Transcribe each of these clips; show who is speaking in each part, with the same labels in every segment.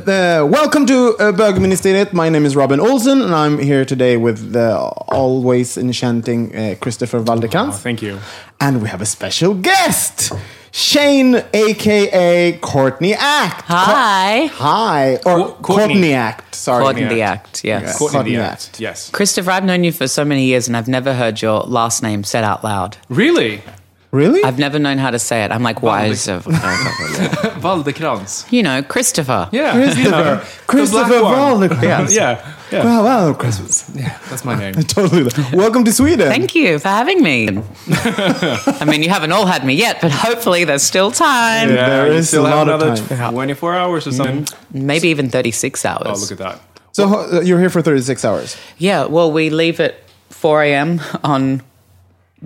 Speaker 1: Uh, welcome to uh, Bögministeriet. My name is Robin Olsen, and I'm here today with the always enchanting uh, Christopher Valdekant.
Speaker 2: Oh, Thank you.
Speaker 1: And we have a special guest, Shane, aka Courtney Act.
Speaker 3: Hi.
Speaker 1: Co- hi. Or
Speaker 2: Co-
Speaker 1: Courtney.
Speaker 2: Courtney.
Speaker 1: Act. Sorry.
Speaker 3: Courtney
Speaker 2: Courtney
Speaker 3: the
Speaker 2: Act.
Speaker 3: Act, yes.
Speaker 1: Yeah.
Speaker 2: Courtney the
Speaker 1: Courtney
Speaker 2: Act.
Speaker 1: Act.
Speaker 2: Yes.
Speaker 3: Christopher, I've known you for so many years and I've never heard your last name said out loud.
Speaker 2: Really?
Speaker 1: Really?
Speaker 3: I've never known how to say it. I'm like, why is it?
Speaker 2: Valdekrans.
Speaker 3: You know, Christopher.
Speaker 2: Yeah. you know,
Speaker 1: Christopher.
Speaker 2: the
Speaker 1: Christopher
Speaker 2: black one.
Speaker 1: Valdekant.
Speaker 2: Yeah. Yeah.
Speaker 1: Wow, wow, Christmas.
Speaker 2: That's my name.
Speaker 1: Totally. Welcome to Sweden.
Speaker 3: Thank you for having me. I mean, you haven't all had me yet, but hopefully there's still time.
Speaker 2: Yeah,
Speaker 1: There
Speaker 2: you
Speaker 1: is
Speaker 2: still
Speaker 1: a
Speaker 2: have
Speaker 1: lot of
Speaker 2: another
Speaker 1: time. Mm.
Speaker 2: 24 hours or something.
Speaker 3: Maybe even 36 hours.
Speaker 2: Oh, look at that.
Speaker 1: So uh, you're here for 36 hours.
Speaker 3: Yeah, well, we leave at 4 a.m. on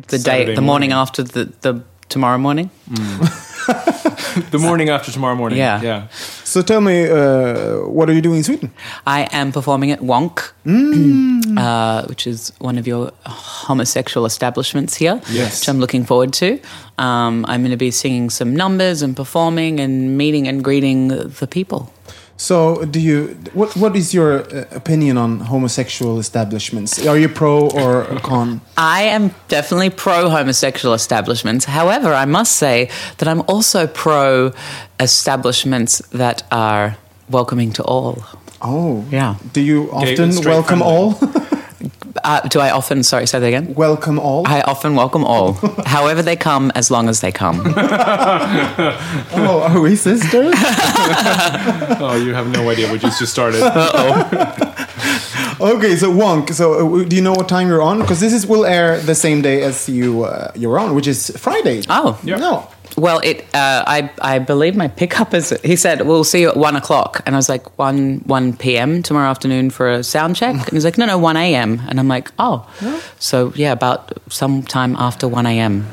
Speaker 3: the
Speaker 2: Saturday
Speaker 3: day, the morning,
Speaker 2: morning.
Speaker 3: after the, the tomorrow morning.
Speaker 2: The morning after tomorrow morning.
Speaker 3: Yeah.
Speaker 2: Yeah.
Speaker 1: So tell me, uh, what are you doing in Sweden?
Speaker 3: I am performing at Wonk, uh, which is one of your homosexual establishments here,
Speaker 2: Yes.
Speaker 3: which I'm looking forward to. Um, I'm going to be singing some numbers and performing and meeting and greeting the people.
Speaker 1: So, do you? What What is your uh, opinion on homosexual establishments? Are you pro or con?
Speaker 3: I am definitely pro homosexual establishments. However, I must say that I'm also pro establishments that are welcoming to all.
Speaker 1: Oh,
Speaker 3: Yeah.
Speaker 1: Do you
Speaker 2: and
Speaker 1: often
Speaker 2: straight
Speaker 1: welcome
Speaker 2: friendly.
Speaker 1: all?
Speaker 3: Uh, do I often, sorry, say that again?
Speaker 1: welcome all.
Speaker 3: I often welcome all, however they come, as long as they come.
Speaker 1: oh, are we sisters?
Speaker 2: Oh, you have no idea what you just started.
Speaker 1: okay, so Wonk. So, uh, w- do you know what time you're on? Because this is will air the same day as you uh, you're on, which is Friday.
Speaker 3: Oh.
Speaker 2: Yeah.
Speaker 1: no.
Speaker 3: Well, it. Uh, I I believe my pickup is. He said, "We'll see you at one o'clock," and I was like, "One one p.m. tomorrow afternoon for a sound check." And he's like, "No, no, one a.m." And I'm like, "Oh, so yeah, about sometime after one a.m.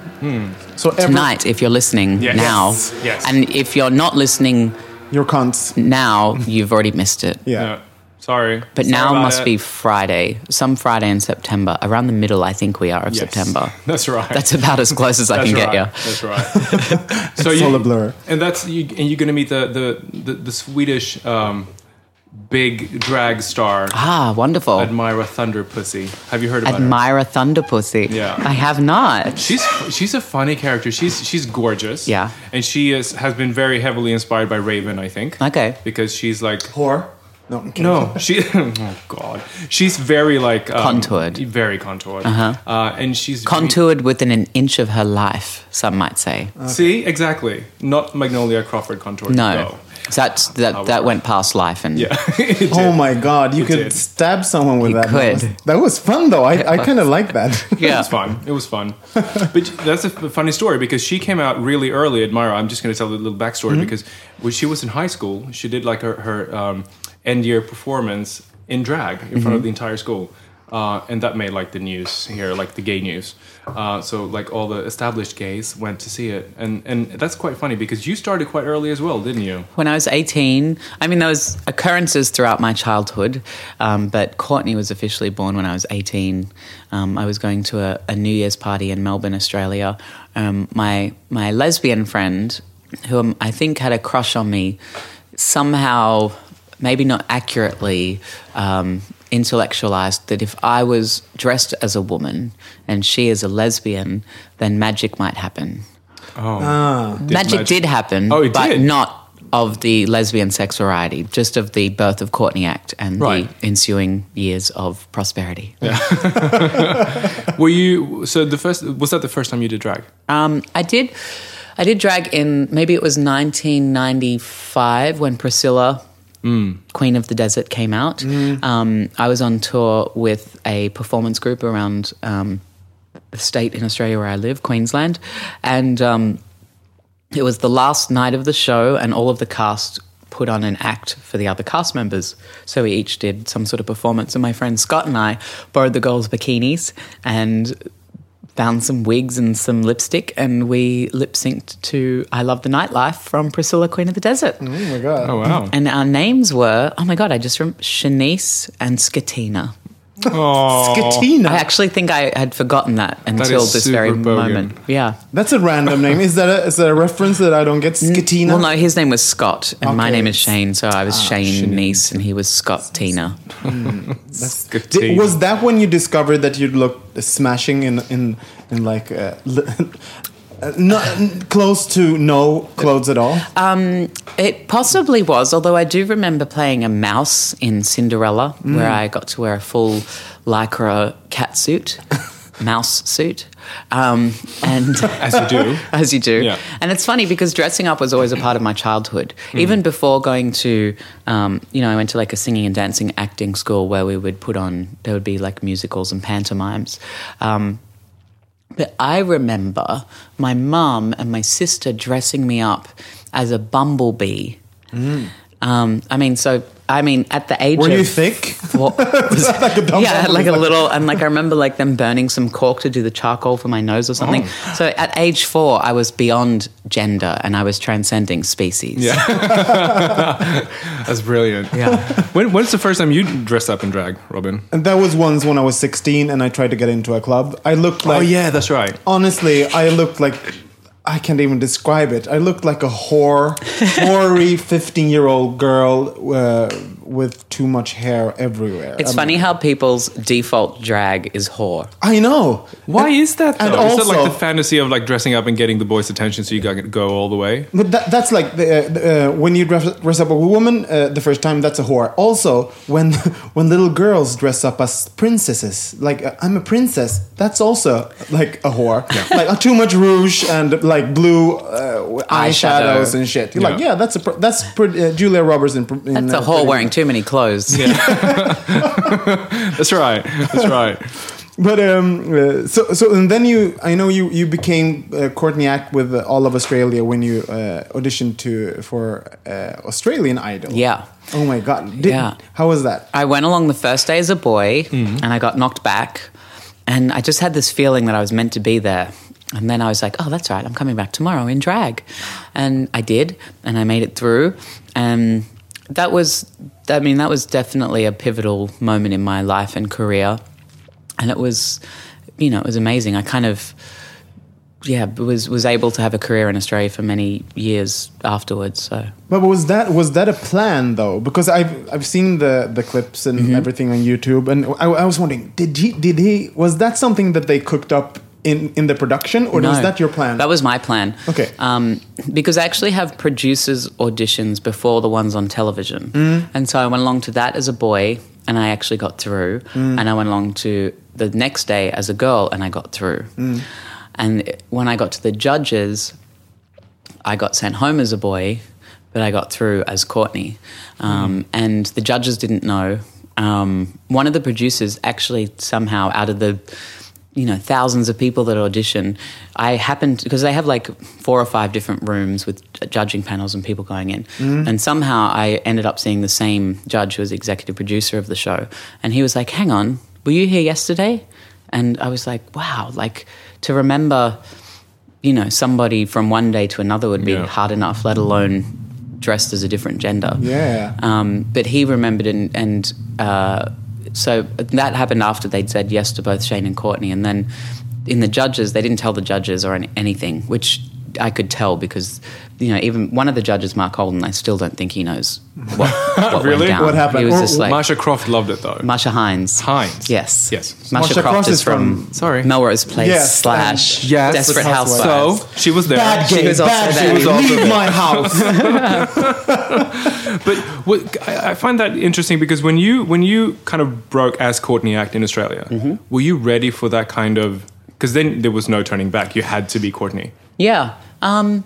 Speaker 1: So every,
Speaker 3: tonight, if you're listening
Speaker 2: Yes.
Speaker 3: now,
Speaker 2: Yes. Yes.
Speaker 3: and if you're not listening
Speaker 1: your cunts.
Speaker 3: Mm. now, you've already missed it."
Speaker 1: Yeah.
Speaker 2: Yeah. Sorry.
Speaker 3: But
Speaker 2: Sorry
Speaker 3: now
Speaker 2: about
Speaker 3: must
Speaker 2: it.
Speaker 3: be Friday, some Friday in September, around the middle, I think we are of
Speaker 2: Yes.
Speaker 3: September.
Speaker 2: That's right.
Speaker 3: That's about as close as I
Speaker 2: That's
Speaker 3: can
Speaker 2: right.
Speaker 3: get you.
Speaker 2: That's right. so it's
Speaker 1: all a blur.
Speaker 2: And that's you. And you're going to meet the the the, the Swedish um, big drag star
Speaker 3: Ah, wonderful.
Speaker 2: Admira Thunderpussy. Have you heard about her?
Speaker 3: Admira Thunderpussy.
Speaker 2: Yeah.
Speaker 3: I have not.
Speaker 2: She's she's a funny character. She's she's gorgeous.
Speaker 3: Yeah.
Speaker 2: And she is has been very heavily inspired by Raven, I think.
Speaker 3: Okay.
Speaker 2: Because she's like
Speaker 1: Whore. No. I'm kidding.
Speaker 2: No, she. Oh God, she's very like um,
Speaker 3: Contoured.
Speaker 2: very contoured, uh-huh. and she's
Speaker 3: Contoured within an inch of her life, some might say.
Speaker 2: See, exactly, not Magnolia Crawford contoured.
Speaker 3: No. That's, that that went past life and
Speaker 2: yeah, it did.
Speaker 1: Oh my god, you could
Speaker 2: did.
Speaker 1: stab someone with
Speaker 3: You
Speaker 1: that. That was,
Speaker 3: could.
Speaker 1: that was fun though. I, I kind of like that.
Speaker 2: It
Speaker 3: Yeah.
Speaker 2: was fun. It was fun. but that's a f- funny story because she came out really early, Admira. I'm just going to tell a little backstory because when she was in high school, Mm-hmm. she did like her, her um, end year performance in drag in front of the entire school. uh, and that made like the news here, like the gay news. Uh, so like all the established gays went to see it, and and that's quite funny because you started quite early as well, didn't you?
Speaker 3: When I was 18, I mean, there was occurrences throughout my childhood, um, but Courtney was officially born when I was 18. Um, I was going to a, a New Year's party in Melbourne, Australia. Um, my my lesbian friend, who um, I think had a crush on me, somehow, maybe not accurately, um, intellectualized that if I was dressed as a woman and she is a lesbian, then magic might happen. Magic
Speaker 2: magic-
Speaker 3: did happen,
Speaker 2: Oh, it
Speaker 3: but
Speaker 2: did?
Speaker 3: not of the lesbian sex variety, just of the birth of Courtney Act and
Speaker 2: Right.
Speaker 3: the ensuing years of prosperity.
Speaker 2: Were you so the first? Was that the first time you did drag?
Speaker 3: Um, I did, I did drag in maybe it was 1995 when Priscilla, Queen of the Desert, came out. Um, I was on tour with a performance group around um, the state in Australia where I live, Queensland, and. Um, it was the last night of the show, and all of the cast put on an act for the other cast members. So we each did some sort of performance, and my friend Scott and I borrowed the girls' bikinis and found some wigs and some lipstick, and we lip synced to "I Love the Nightlife" from Priscilla, Queen of the Desert.
Speaker 1: Oh my god.
Speaker 2: Oh wow!
Speaker 3: And our names were oh my god, I just remember Shanice and Skatina.
Speaker 2: Oh.
Speaker 1: Skatina.
Speaker 3: I actually think I had forgotten that until
Speaker 2: is
Speaker 3: this
Speaker 2: super
Speaker 3: very
Speaker 2: bogan.
Speaker 3: moment. Yeah.
Speaker 1: That's a random name. Is that a, is that a reference that I don't get? Skatina.
Speaker 3: Mm, Well, no, his name was Scott, and my
Speaker 1: Okay.
Speaker 3: name is Shane, so I was Shane Niece, and he was Scott Tina.
Speaker 1: Di-
Speaker 2: Skatina.
Speaker 1: was that when you discovered that you'd look smashing in in in like uh, uh, not close to no clothes at all?
Speaker 3: Uh, Um, It possibly was, although I do remember playing a mouse in Cinderella, where
Speaker 2: Mm.
Speaker 3: I got to wear a full lycra cat suit, mouse suit, um, and
Speaker 2: as you do.
Speaker 3: as you do.
Speaker 2: Yeah.
Speaker 3: And it's funny because dressing up was always a part of my childhood.
Speaker 1: Mm.
Speaker 3: Even before going to, um, you know, I went to like a singing and dancing acting school where we would put on, there would be like musicals and pantomimes. Um, but I remember my mum and my sister dressing me up as a bumblebee. Um, I mean, so. I mean, at the age
Speaker 1: Mm. Were
Speaker 3: of
Speaker 1: you thick?
Speaker 3: what was
Speaker 1: like a dumb
Speaker 3: yeah, I had
Speaker 1: bumblebee,
Speaker 3: like a
Speaker 1: like-
Speaker 3: little, and like I remember like them burning some cork to do the charcoal for my nose or something. So at age four, I was beyond gender and I was transcending species. Yeah.
Speaker 2: That's brilliant. Yeah. when, when's the first time you dressed up in drag, Robin?
Speaker 1: And that was once when I was 16 and I tried to get into a club. I looked like
Speaker 2: oh yeah, that's right.
Speaker 1: honestly, I looked like I can't even describe it. I looked like a whore, hoary 15 year old girl uh, with too much hair everywhere.
Speaker 3: It's
Speaker 1: Um,
Speaker 3: funny how people's default drag is whore.
Speaker 1: I know.
Speaker 2: Why is that? Though?
Speaker 1: and
Speaker 2: is that like
Speaker 1: also-
Speaker 2: the fantasy of like dressing up and getting the boys' attention so you got go all the way?
Speaker 1: But that, that's like the, uh, the, uh, when you dress, dress up a woman uh, the first time, that's a whore. Also, when when little girls dress up as princesses, like uh, I'm a princess, that's also like a whore. Like uh, too much rouge and like blue uh,
Speaker 3: Eyeshadow.
Speaker 1: eyeshadows and shit. You're like,
Speaker 2: Yeah.
Speaker 1: yeah, that's a pr- that's pr- uh, Julia Roberts in. Pr- in
Speaker 3: That's
Speaker 1: uh,
Speaker 3: a whore
Speaker 1: Pretty
Speaker 3: wearing too many clothes.
Speaker 2: That's right. That's right.
Speaker 1: But um, uh, so so and then you, I know you you became uh, Courtney Act with uh, all of Australia when you uh, auditioned to for uh, Australian Idol.
Speaker 3: Yeah.
Speaker 1: Oh my God. Did,
Speaker 3: Yeah.
Speaker 1: How was that?
Speaker 3: I went along the first day as a boy and I got knocked back. And I just had this feeling that I was meant to be there. And then I was like, oh, that's right. I'm coming back tomorrow in drag. And I did. And I made it through. And that was, I mean, that was definitely a pivotal moment in my life and career. And it was, you know, it was amazing. I kind of, yeah, was, was able to have a career in Australia for many years afterwards. So.
Speaker 1: But was that was that a plan though? Because I've I've seen the the clips and everything on YouTube, and I, I was wondering, did he did he was that something that they cooked up in in the production, or was
Speaker 3: No.
Speaker 1: that your plan?
Speaker 3: That was my plan.
Speaker 1: Okay.
Speaker 3: Um, because I actually have producers' auditions before the ones on television.
Speaker 1: Mm.
Speaker 3: And so I went along to that as a boy and I actually got through.
Speaker 1: Mm.
Speaker 3: And I went along to the next day as a girl and I got through.
Speaker 1: Mm.
Speaker 3: And when I got to the judges, I got sent home as a boy, but I got through as Courtney. Um, And the judges didn't know. Um, one of the producers actually somehow out of the you know thousands of people that audition i happened because they have like four or five different rooms with judging panels and people going in and somehow i ended up seeing the same judge who was executive producer of the show and he was like hang on were you here yesterday? And I was like, wow, like to remember, you know, somebody from one day to another would be
Speaker 2: Yeah.
Speaker 3: hard enough, let alone dressed as a different gender.
Speaker 1: Yeah.
Speaker 3: Um, but he remembered, and, and uh, so that happened after they'd said yes to both Shane and Courtney. And then in the judges, they didn't tell the judges or any, anything, which I could tell because, you know, even one of the judges, Mark Holden, I still don't think he knows what, what went
Speaker 2: Really?
Speaker 3: down.
Speaker 1: What happened?
Speaker 3: He was
Speaker 1: Or-
Speaker 3: just like,
Speaker 2: Marsha Croft loved it though.
Speaker 3: Marsha Hines.
Speaker 2: Hines.
Speaker 3: Yes.
Speaker 2: Yes.
Speaker 3: Marsha, Croft, is from,
Speaker 2: Sorry.
Speaker 3: Melrose Place
Speaker 1: Yes,
Speaker 3: slash
Speaker 1: and-
Speaker 2: Yes.
Speaker 3: Desperate
Speaker 1: Housewives.
Speaker 3: Housewives.
Speaker 2: So she was there.
Speaker 1: Bad
Speaker 3: She
Speaker 1: game,
Speaker 3: was also
Speaker 1: bad
Speaker 3: there.
Speaker 1: game.
Speaker 3: She was
Speaker 1: Leave my house.
Speaker 2: But what, I I find that interesting because when you when you kind of broke as Courtney Act in Australia,
Speaker 1: Mm-hmm.
Speaker 2: were you ready for that kind of? Because then there was no turning back. You had to be Courtney.
Speaker 3: Yeah. Um,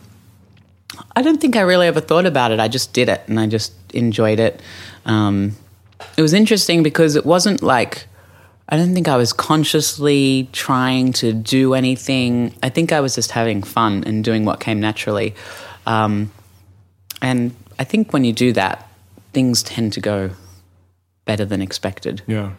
Speaker 3: I don't think I really ever thought about it. I just did it and I just enjoyed it. Um, it was interesting because it wasn't like, I don't think I was consciously trying to do anything. I think I was just having fun and doing what came naturally. Um, and I think when you do that, things tend to go better than expected.
Speaker 2: Yeah.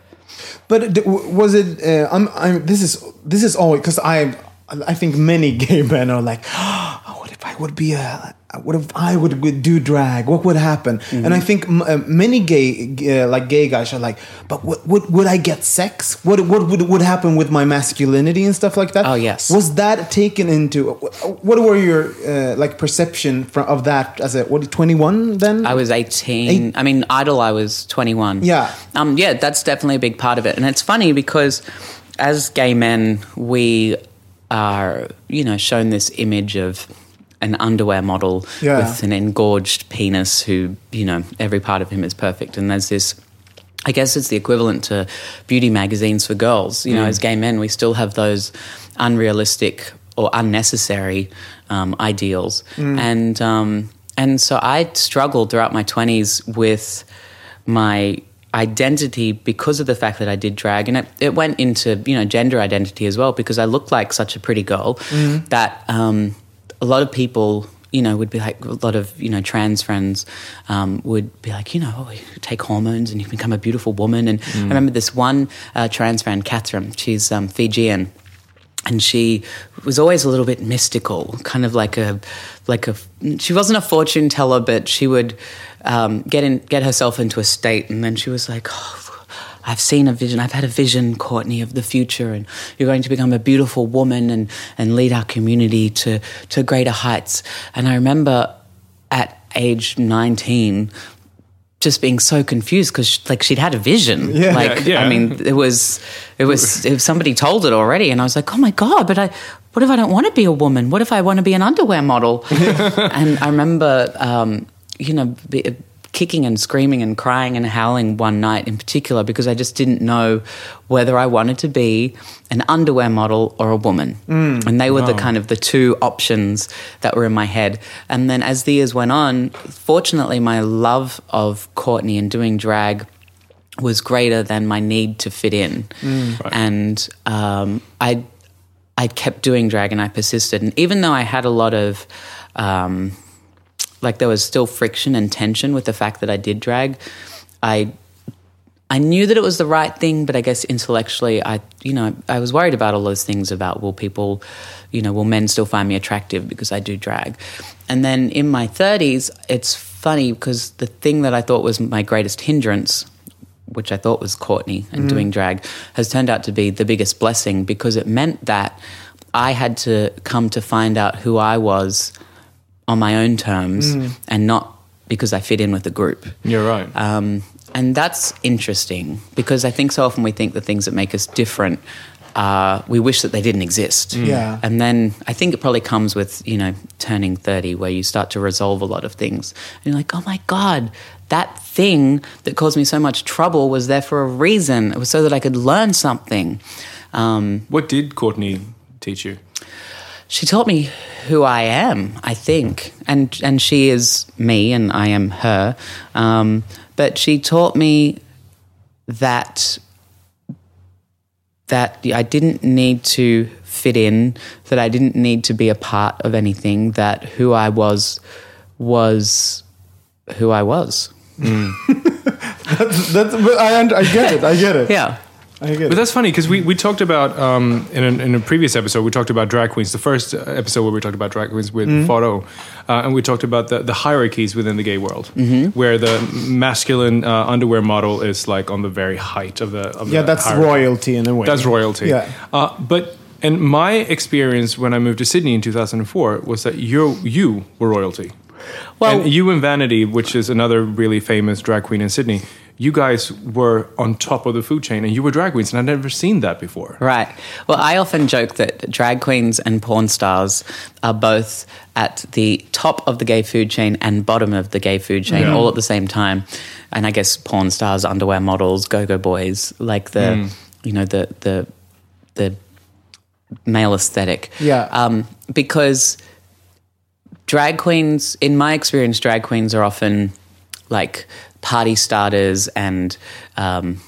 Speaker 1: But d- w- was it? Uh, I'm, I'm. This is this is always because I. I think many gay men are like, "Oh, what if I would be a? What if I would g- do drag? What would happen? And
Speaker 3: Mm-hmm.
Speaker 1: I think m- uh, many gay, g- uh, like gay guys, are like, but what, would would I get sex? What what would would happen with my masculinity and stuff like that?
Speaker 3: Oh, yes.
Speaker 1: Was that taken into? wh- What were your uh, like perception from of that as a what twenty one then?
Speaker 3: I was 18. I mean, Idol, I was 21.
Speaker 1: Yeah.
Speaker 3: Um, yeah, that's definitely a big part of it. And it's funny because as gay men, we are, you know, shown this image of an underwear model
Speaker 1: Yeah.
Speaker 3: with an engorged penis who, you know, every part of him is perfect. And there's this. I guess it's the equivalent to beauty magazines for girls. You know, as gay men, we still have those unrealistic or unnecessary um, ideals, and um, and so I struggled throughout my twenties with my identity because of the fact that I did drag, and it, it went into you know gender identity as well because I looked like such a pretty girl that um, a lot of people you know, would be like a lot of you know trans friends um, would be like, you know, oh, you take hormones and you become a beautiful woman. And I remember this one uh, trans friend, Catherine. She's um, Fijian, and she was always a little bit mystical, kind of like a like a. She wasn't a fortune teller, but she would um, get in get herself into a state, and then she was like. "Oh, I've seen a vision. I've had a vision, Courtney, of the future, and you're going to become a beautiful woman and, and lead our community to, to greater heights. And I remember at age 19 just being so confused because like she'd had a vision.
Speaker 1: Yeah.
Speaker 3: like
Speaker 2: Yeah, yeah.
Speaker 3: I mean, it was it was if somebody told it already, and I was like, oh my god, but I. What if I don't want to be a woman? What if I want to be an underwear model? and I remember, um, you know, be, kicking and screaming and crying and howling one night in particular because I just didn't know whether I wanted to be an underwear model or a woman. and they were the kind of the two options that were in my head. And then as the years went on, fortunately, my love of Courtney and doing drag was greater than my need to fit in, and um, I I kept doing drag and I persisted, and even though I had a lot of um, like there was still friction and tension with the fact that I did drag, I I knew that it was the right thing, but I guess intellectually, I you know I was worried about all those things about will people, you know, will men still find me attractive because I do drag, and then in my thirties, it's funny because the thing that I thought was my greatest hindrance, which I thought was Courtney and doing drag, has turned out to be the biggest blessing because it meant that I had to come to find out who I was on my own terms and not because I fit in with the group.
Speaker 2: You're right.
Speaker 3: Um, and that's interesting because I think so often we think the things that make us different, uh, we wish that they didn't exist.
Speaker 1: Yeah.
Speaker 3: And then I think it probably comes with, you know, turning 30 where you start to resolve a lot of things. And you're like, oh my God, that thing that caused me so much trouble was there for a reason. It was so that I could learn something. Um,
Speaker 2: what did Courtney teach you?
Speaker 3: she taught me who I am, I think, and and she is me, and I am her. Um, but she taught me that that I didn't need to fit in, that I didn't need to be a part of anything, that who I was was who I was.
Speaker 1: That's, that's, but I, und- I get it. I get it.
Speaker 3: Yeah.
Speaker 1: I get
Speaker 2: But
Speaker 1: it.
Speaker 2: that's funny because we, we talked about um, in, a, in a previous episode we talked about drag queens. The first uh, episode where we talked about drag queens with
Speaker 1: Mm-hmm.
Speaker 2: Faro, uh, and we talked about the, the hierarchies within the gay world,
Speaker 1: Mm-hmm.
Speaker 2: where the masculine uh, underwear model is like on the very height of the of
Speaker 1: Yeah,
Speaker 2: the
Speaker 1: that's
Speaker 2: hierarchy.
Speaker 1: royalty in a way.
Speaker 2: That's royalty.
Speaker 1: Yeah.
Speaker 2: Uh, but and my experience when I moved to Sydney in 2004 was that you you were royalty.
Speaker 3: Well-
Speaker 2: and you and Vanity, which is another really famous drag queen in Sydney, you guys were on top of the food chain, and you were drag queens, and I'd never seen that before.
Speaker 3: Right. Well, I often joke that drag queens and porn stars are both at the top of the gay food chain and bottom of the gay food chain
Speaker 2: Yeah.
Speaker 3: all at the same time. And I guess porn stars, underwear models, go-go boys, like the you know the the the male aesthetic.
Speaker 1: Yeah.
Speaker 3: Um, because drag queens, in my experience, drag queens are often like party starters and um,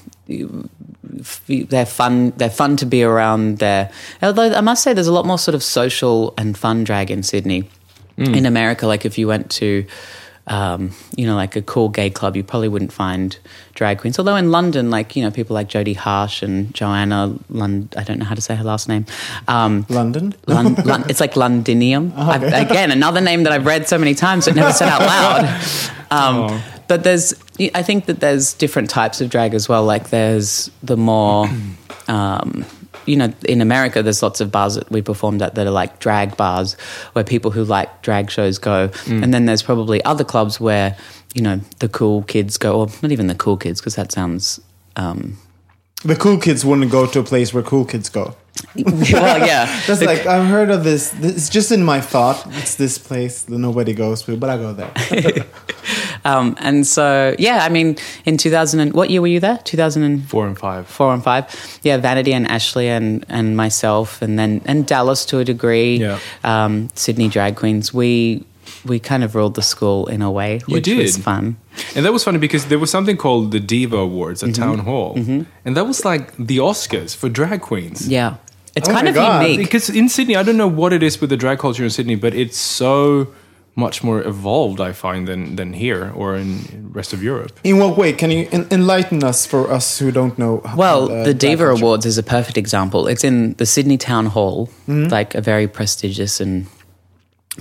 Speaker 3: they're fun. They're fun to be around. There, although I must say, there's a lot more sort of social and fun drag in Sydney. In America, like if you went to, um, you know, like a cool gay club, you probably wouldn't find drag queens. Although in London, like you know, people like Jodie Harsh and Joanna Lund. I don't know how to say her last name. Um,
Speaker 1: London?
Speaker 3: Lon- Lon- it's like Londinium. I, again, another name that I've read so many times but never said out loud. Um, But there's, I think that there's different types of drag as well. Like there's the more, um, you know, in America, there's lots of bars that we performed at that are like drag bars where people who like drag shows go. And then there's probably other clubs where, you know, the cool kids go, or not even the cool kids, because that sounds. Um,
Speaker 1: The cool kids wouldn't go to a place where cool kids go.
Speaker 3: well, Oh, yeah.
Speaker 1: That's
Speaker 3: The-
Speaker 1: like I've heard of this. this- It's just in my thought. It's this place that nobody goes to, but I go there.
Speaker 3: Um, and so, yeah, I mean, in 2000, and, what year were you there? 2004
Speaker 2: Four and five.
Speaker 3: and 5. Yeah, Vanity and Ashley and, and myself, and then and Dallas to a degree,
Speaker 2: Yeah.
Speaker 3: um, Sydney Drag Queens. We we kind of ruled the school in a way,
Speaker 2: You
Speaker 3: which was
Speaker 2: did.
Speaker 3: fun.
Speaker 2: And that was funny because there was something called the Diva Awards
Speaker 3: Mm-hmm.
Speaker 2: at Town Hall, and that was like the Oscars for drag queens.
Speaker 3: Yeah. It's
Speaker 1: Oh
Speaker 3: kind
Speaker 1: my
Speaker 3: of
Speaker 1: God.
Speaker 3: unique.
Speaker 2: Because in Sydney, I don't know what it is with the drag culture in Sydney, but it's so much more evolved, I find, than than here or in rest of Europe.
Speaker 1: In what way can you en- enlighten us for us who don't know? how,
Speaker 3: Well,
Speaker 1: uh,
Speaker 3: the
Speaker 1: that
Speaker 3: Diva
Speaker 1: culture-
Speaker 3: Awards is a perfect example. It's in the Sydney Town Hall, like a very prestigious and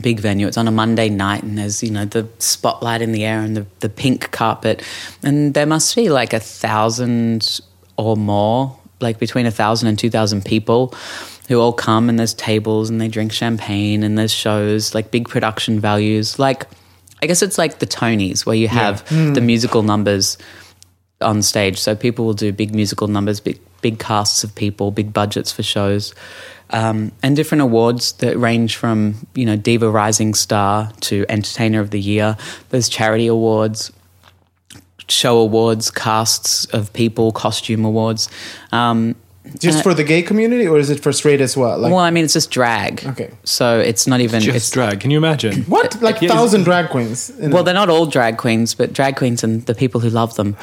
Speaker 3: big venue. It's on a Monday night, and there's you know the spotlight in the air and the, the pink carpet, and there must be like a thousand or more, like between a thousand and two thousand people. Who all come and there's tables and they drink champagne and there's shows like big production values. Like, I guess it's like the Tonys where you have the musical numbers on stage. So people will do big musical numbers, big big casts of people, big budgets for shows, um, and different awards that range from you know diva rising star to entertainer of the year. There's charity awards, show awards, casts of people, costume awards. Um,
Speaker 1: just for the gay community, or is it for straight as well? Like
Speaker 3: well, I mean, it's just drag.
Speaker 1: Okay.
Speaker 3: So it's not even
Speaker 2: Just
Speaker 3: it's
Speaker 2: drag. Can you imagine?
Speaker 1: what? Like
Speaker 2: Yeah,
Speaker 1: thousand drag queens. in
Speaker 3: Well,
Speaker 1: it.
Speaker 3: they're not all drag queens, but drag queens and the people who love them.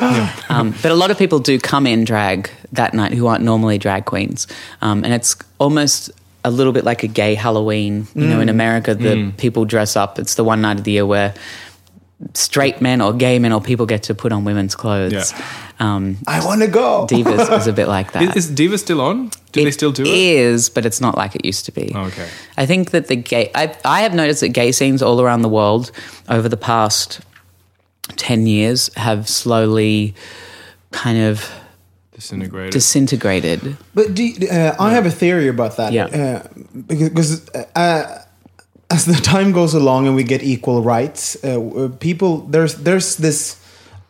Speaker 3: um, but a lot of people do come in drag that night who aren't normally drag queens. Um, and it's almost a little bit like a gay Halloween. You know, in America, the people dress up. It's the one night of the year where straight men or gay men or people get to put on women's clothes.
Speaker 2: Yeah.
Speaker 3: Um,
Speaker 1: I want to go.
Speaker 3: Divas is a bit like that.
Speaker 2: Is, is Diva still on? Do they still do it? Oh,
Speaker 3: is, but it's not like it used to be.
Speaker 2: Okay.
Speaker 3: I think that the gay, I, I have noticed that gay scenes all around the world over the past 10 years have slowly kind of
Speaker 2: Disintegrated.
Speaker 3: disintegrated.
Speaker 1: But do you, uh, I have a theory about that?
Speaker 3: Yeah.
Speaker 1: Uh, because because, uh, as the time goes along and we get equal rights, uh, w- people there's there's this.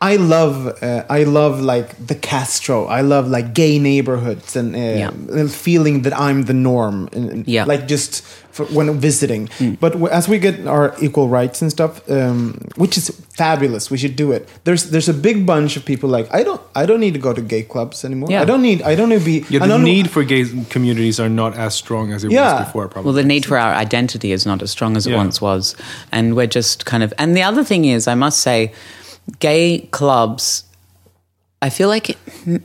Speaker 1: I love uh, I love like the Castro. I love like gay neighborhoods and uh,
Speaker 3: Yeah.
Speaker 1: and feeling that I'm the norm. And, and
Speaker 3: Yeah. Mm.
Speaker 1: Like just for when visiting. But w- as we get our equal rights and stuff, um, which is fabulous, we should do it. There's there's a big bunch of people like I don't I don't need to go to gay clubs anymore.
Speaker 3: Yeah.
Speaker 1: I don't need I don't need to be
Speaker 2: yeah,
Speaker 1: I
Speaker 2: the
Speaker 1: don't know-
Speaker 2: need for gay communities are not as strong as it
Speaker 1: Yeah.
Speaker 2: was before, probably.
Speaker 3: Well, the need for our identity is not as strong as it
Speaker 2: Yeah.
Speaker 3: once was. And we're just kind of, and the other thing is, I must say, gay clubs I feel like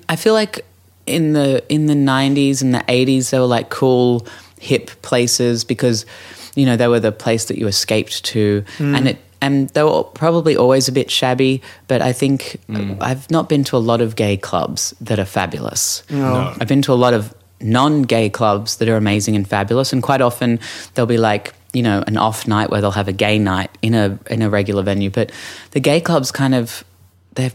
Speaker 3: I feel like in the in the nineties and the eighties they were like cool hip places because you know they were the place that you escaped to and it and they were probably always a bit shabby. But I think I've not been to a lot of gay clubs that are fabulous.
Speaker 2: No.
Speaker 3: I've been to a lot of non-gay clubs that are amazing and fabulous, and quite often they'll be like you know an off night where they'll have a gay night in a in a regular venue. But the gay clubs kind of they're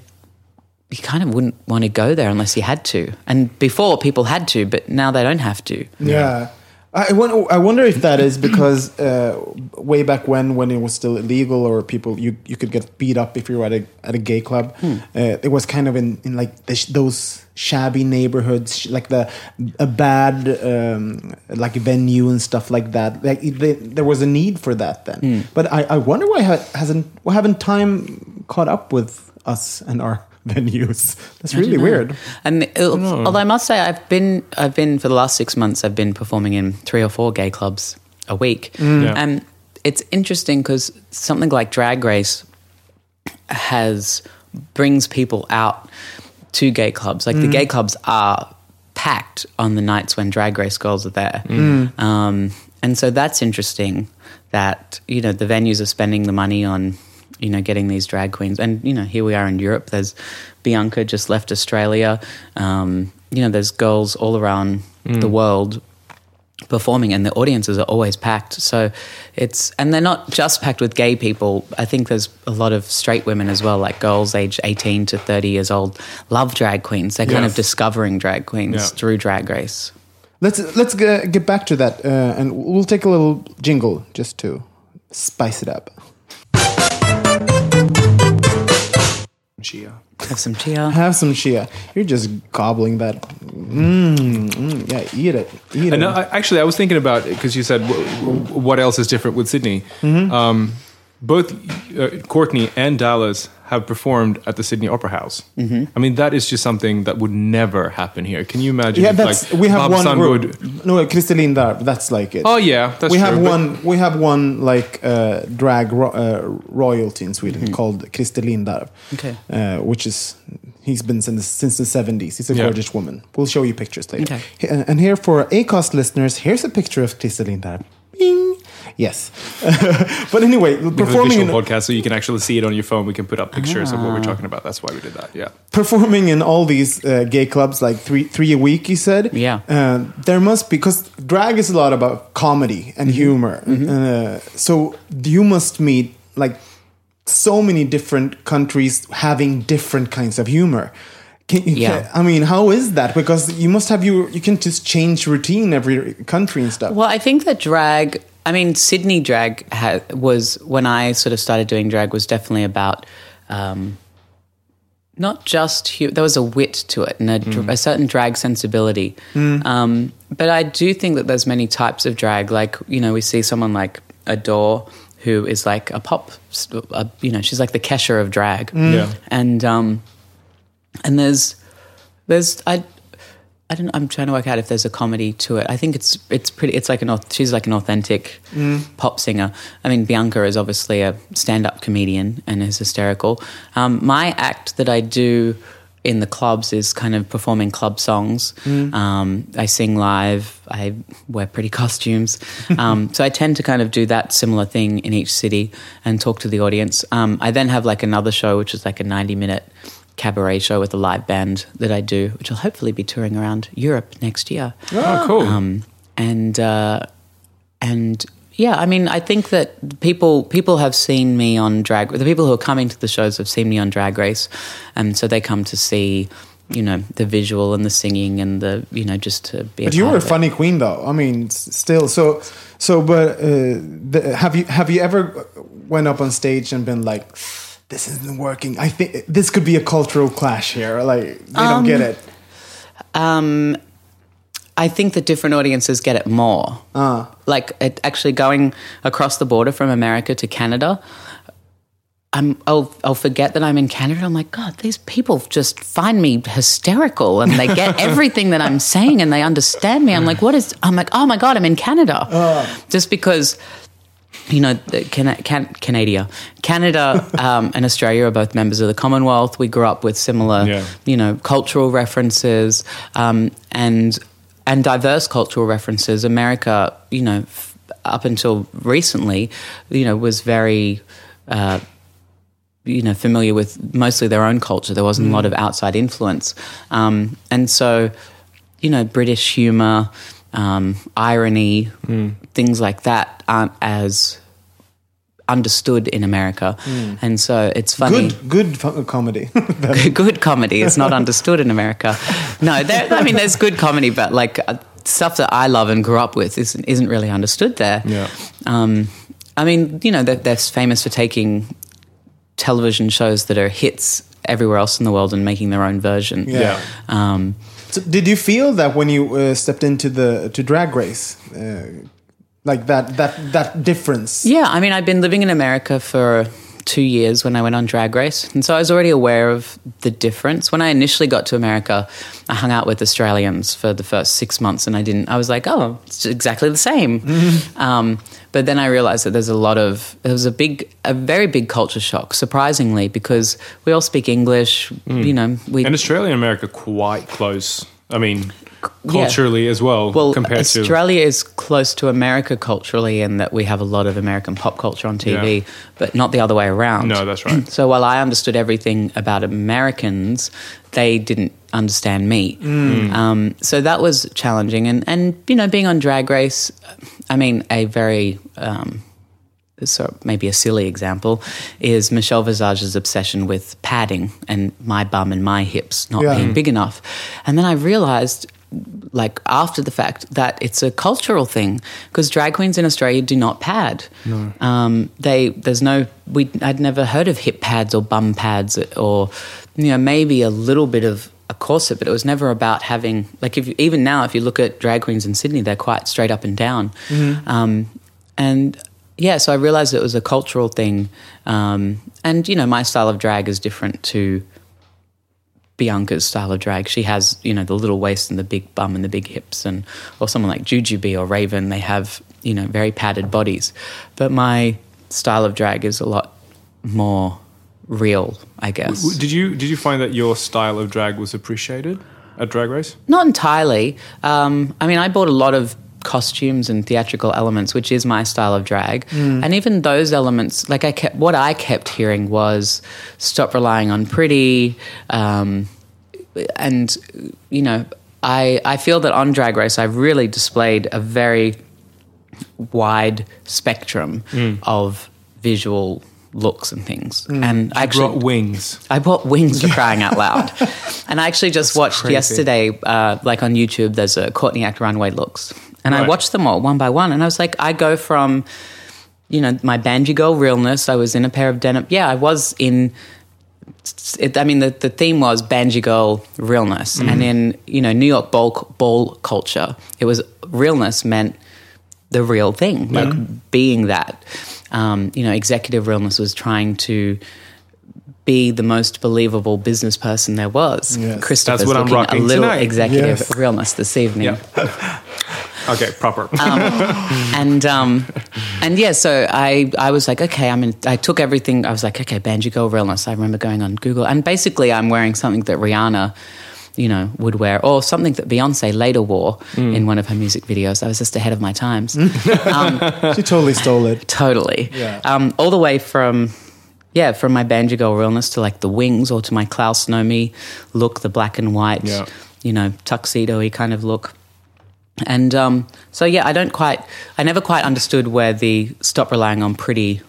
Speaker 3: you kind of wouldn't want to go there unless you had to. And before people had to, but now they don't have to.
Speaker 1: Yeah. I wonder, I wonder if that is because uh, way back when, when it was still illegal, or people you, you could get beat up if you were at a at a gay club. Uh, it was kind of in, in like the, sh- those shabby neighborhoods, sh- like the a bad um, like venue and stuff like that. Like it- they, there was a need for that then. But I, I wonder why ha- hasn't why haven't time caught up with us and our venues? That's really weird.
Speaker 3: And it- although I must say, I've been I've been for the last six months, I've been performing in three or four gay clubs a week,
Speaker 2: Yeah.
Speaker 3: and it's interesting because something like Drag Race has brings people out to gay clubs. Like the gay clubs are packed on the nights when drag race girls are there. Um, and so that's interesting that, you know, the venues are spending the money on, you know, getting these drag queens. And, you know, here we are in Europe. There's Bianca just left Australia. Um, you know, there's girls all around the world performing and the audiences are always packed so it's and they're not just packed with gay people i think there's a lot of straight women as well like girls aged 18 to 30 years old love drag queens they're kind
Speaker 2: Yes.
Speaker 3: of discovering drag queens
Speaker 2: Yeah.
Speaker 3: through drag race
Speaker 1: Let's let's g- get back to that, uh, and we'll take a little jingle just to spice it up. Shia,
Speaker 3: have some cheer
Speaker 1: have some Shia. You're just gobbling that. Mm, mm, yeah, eat it, eat
Speaker 2: And
Speaker 1: it.
Speaker 2: I, actually, I was thinking about because you said w- w- what else is different with Sydney.
Speaker 1: Mm-hmm.
Speaker 2: Um, both uh, Courtney and Dallas have performed at the Sydney Opera House. Mm-hmm. I mean, that is just something that would never happen here. Can you imagine?
Speaker 1: yeah,
Speaker 2: if,
Speaker 1: that's
Speaker 2: like,
Speaker 1: we have
Speaker 2: Bob
Speaker 1: one
Speaker 2: Sun
Speaker 1: group.
Speaker 2: would-
Speaker 1: No, Kristalin Darb. That's like it.
Speaker 2: Oh yeah, that's
Speaker 1: we
Speaker 2: true,
Speaker 1: have
Speaker 2: but-
Speaker 1: one. We have one like uh, drag ro- uh, royalty in Sweden
Speaker 2: Hmm.
Speaker 1: called Kristalin Darb.
Speaker 3: Okay.
Speaker 1: uh, which is he's been since since the seventies. He's a
Speaker 2: Yeah.
Speaker 1: gorgeous woman. We'll show you pictures later.
Speaker 3: Okay.
Speaker 1: He- uh, And and here for Acast listeners, here's a picture of Kristalin Darb. Bing. Yes, but anyway,
Speaker 2: We have a
Speaker 1: performing in, Ah.
Speaker 2: visual podcast, so you can actually see it on your phone. We can put up pictures of what we're talking about. That's why we did that. Yeah,
Speaker 1: performing in all these uh, gay clubs, like three three a week, you said.
Speaker 3: Yeah.
Speaker 1: Uh, there must be because drag is a lot about comedy and
Speaker 3: Mm-hmm.
Speaker 1: humor. Uh, so you must meet like so many different countries having different kinds of humor. Can, you
Speaker 3: Yeah.
Speaker 1: can- I mean, how is that? Because you must have your you can just change routine every country and stuff.
Speaker 3: Well, I think that drag. I mean, Sydney drag ha- was when I sort of started doing drag was definitely about um, not just hu- there was a wit to it and a, dr- a certain drag sensibility. Um, but I do think that there's many types of drag. Like you know, we see someone like Adore who is like a pop, st- a, you know, she's like the Kesha of drag.
Speaker 2: Yeah.
Speaker 3: and um, and there's there's I I don't I'm trying to work out if there's a comedy to it. I think it's it's pretty it's like an auth- she's like an authentic pop singer. I mean Bianca is obviously a stand-up comedian and is hysterical. Um, my act that I do in the clubs is kind of performing club songs. Um, I sing live. I wear pretty costumes. Um, so I tend to kind of do that similar thing in each city and talk to the audience. Um, I then have like another show, which is like a 90 minute cabaret show with a live band that I do, which will hopefully be touring around Europe next year.
Speaker 2: oh cool.
Speaker 3: Um, and uh, and yeah, I mean, I think that people people have seen me on drag. The people who are coming to the shows have seen me on Drag Race, and so they come to see. You know the visual and the singing and the you know just to be.
Speaker 1: But
Speaker 3: a
Speaker 1: you
Speaker 3: part
Speaker 1: were a
Speaker 3: of it.
Speaker 1: funny queen, though. I mean, s- still. So, so. But uh, the, have you have you ever went up on stage and been like, "This isn't working. I think this could be a cultural clash here. Like they don't get it."
Speaker 3: um, I think that different audiences get it more. Like it, actually going across the border from America to Canada, I'm, I'll, I'll forget that I'm in Canada. I'm like, God, these people just find me hysterical and they get everything that I'm saying and they understand me. I'm like, what is, I'm like, oh my God, I'm in Canada. Just because you know, the Can- Can- Canada, Canada, um, and Australia are both members of the Commonwealth. We grew up with similar,
Speaker 2: Yeah.
Speaker 3: you know, cultural references um, and and diverse cultural references. America, you know, f- up until recently, you know, was very uh, you know, familiar with mostly their own culture. There wasn't a lot of outside influence, um, and so you know, British humor, um, irony, things like that aren't as understood in America, and so it's funny
Speaker 1: Good, good fu- comedy.
Speaker 3: good comedy is not understood in America. No, there, I mean, there's good comedy, but like uh, stuff that I love and grew up with isn't, isn't really understood there.
Speaker 2: Yeah.
Speaker 3: Um, I mean, you know, they're, they're famous for taking television shows that are hits everywhere else in the world and making their own version.
Speaker 2: Yeah.
Speaker 3: Um,
Speaker 1: So did you feel that when you uh, stepped into the to drag race, uh, like that that that difference?
Speaker 3: Yeah, I mean, I've been living in America for two years when I went on Drag Race. And so I was already aware of the difference. When I initially got to America, I hung out with Australians for the first six months and I didn't, I was like, oh, it's exactly the same.
Speaker 2: Mm-hmm.
Speaker 3: Um, but then I realized that there's a lot of, there was a big, a very big culture shock, surprisingly, because we all speak English, you know, we.
Speaker 2: Mm. And Australia and America quite close. I mean, culturally as well,
Speaker 3: well,
Speaker 2: compared to
Speaker 3: Australia is close to America culturally in that we have a lot of American pop culture on TV,
Speaker 2: Yeah.
Speaker 3: but not the other way around.
Speaker 2: No, that's right.
Speaker 3: so while I understood everything about Americans, they didn't understand me. Um, so that was challenging, and and you know, being on Drag Race, I mean, a very um, so maybe a silly example is Michelle Visage's obsession with padding and my bum and my hips not
Speaker 1: Yeah.
Speaker 3: being big enough. And then I realized, like after the fact, that it's a cultural thing because drag queens in Australia do not pad. Um, they there's no we I'd never heard of hip pads or bum pads or you know maybe a little bit of a corset, but it was never about having like if you, even now if you look at drag queens in Sydney, they're quite straight up and down. Um, and yeah, so I realized it was a cultural thing. Um, and, you know, my style of drag is different to Bianca's style of drag. She has, you know, the little waist and the big bum and the big hips. And, or someone like Jujubee or Raven, they have, you know, very padded bodies. But my style of drag is a lot more real, I guess.
Speaker 2: W- Did you did you find that your style of drag was appreciated at drag race?
Speaker 3: Not entirely. Um, I mean, I bought a lot of costumes and theatrical elements, which is my style of drag. And even those elements, like I kept, what I kept hearing was stop relying on pretty. Um, and, you know, I, I feel that on Drag Race, I've really displayed a very wide spectrum of visual looks and things. And I actually,
Speaker 2: Brought wings.
Speaker 3: I bought wings for crying out loud. And I actually just watched
Speaker 2: crazy.
Speaker 3: yesterday, uh, like on YouTube, there's a Courtney Act runway looks. And I
Speaker 2: Right.
Speaker 3: watched them all one by one. And I was like, I go from, you know, my Banji Girl realness. I was in a pair of denim. Yeah, I was in. It, I mean, the, the theme was Banji Girl realness.
Speaker 2: Mm-hmm.
Speaker 3: And in, you know, New York ball, ball culture, it was realness meant the real thing, like being that. Um, you know, executive realness was trying to be the most believable business person there was.
Speaker 1: Yes.
Speaker 3: Christopher's
Speaker 2: That's what I'm
Speaker 3: looking
Speaker 2: rocking
Speaker 3: a little
Speaker 2: tonight.
Speaker 3: executive
Speaker 1: Yes.
Speaker 3: realness this evening.
Speaker 2: Yeah. okay, proper.
Speaker 1: Um,
Speaker 3: And um, and yeah, so I I was like, okay, I mean, I took everything. I was like, okay, Banjo Girl realness. I remember going on Google, and basically, I'm wearing something that Rihanna. You know, would wear, or something that Beyonce later wore in one of her music videos. I was just ahead of my times.
Speaker 1: She totally stole it.
Speaker 3: totally.
Speaker 1: Yeah.
Speaker 3: Um, all the way from yeah, from my banjo girl realness to like the wings or to my Klaus Nomi look, the black and white,
Speaker 2: Yeah.
Speaker 3: you know, tuxedo y kind of look. And um, so yeah, I don't quite I never quite understood where the stop relying on pretty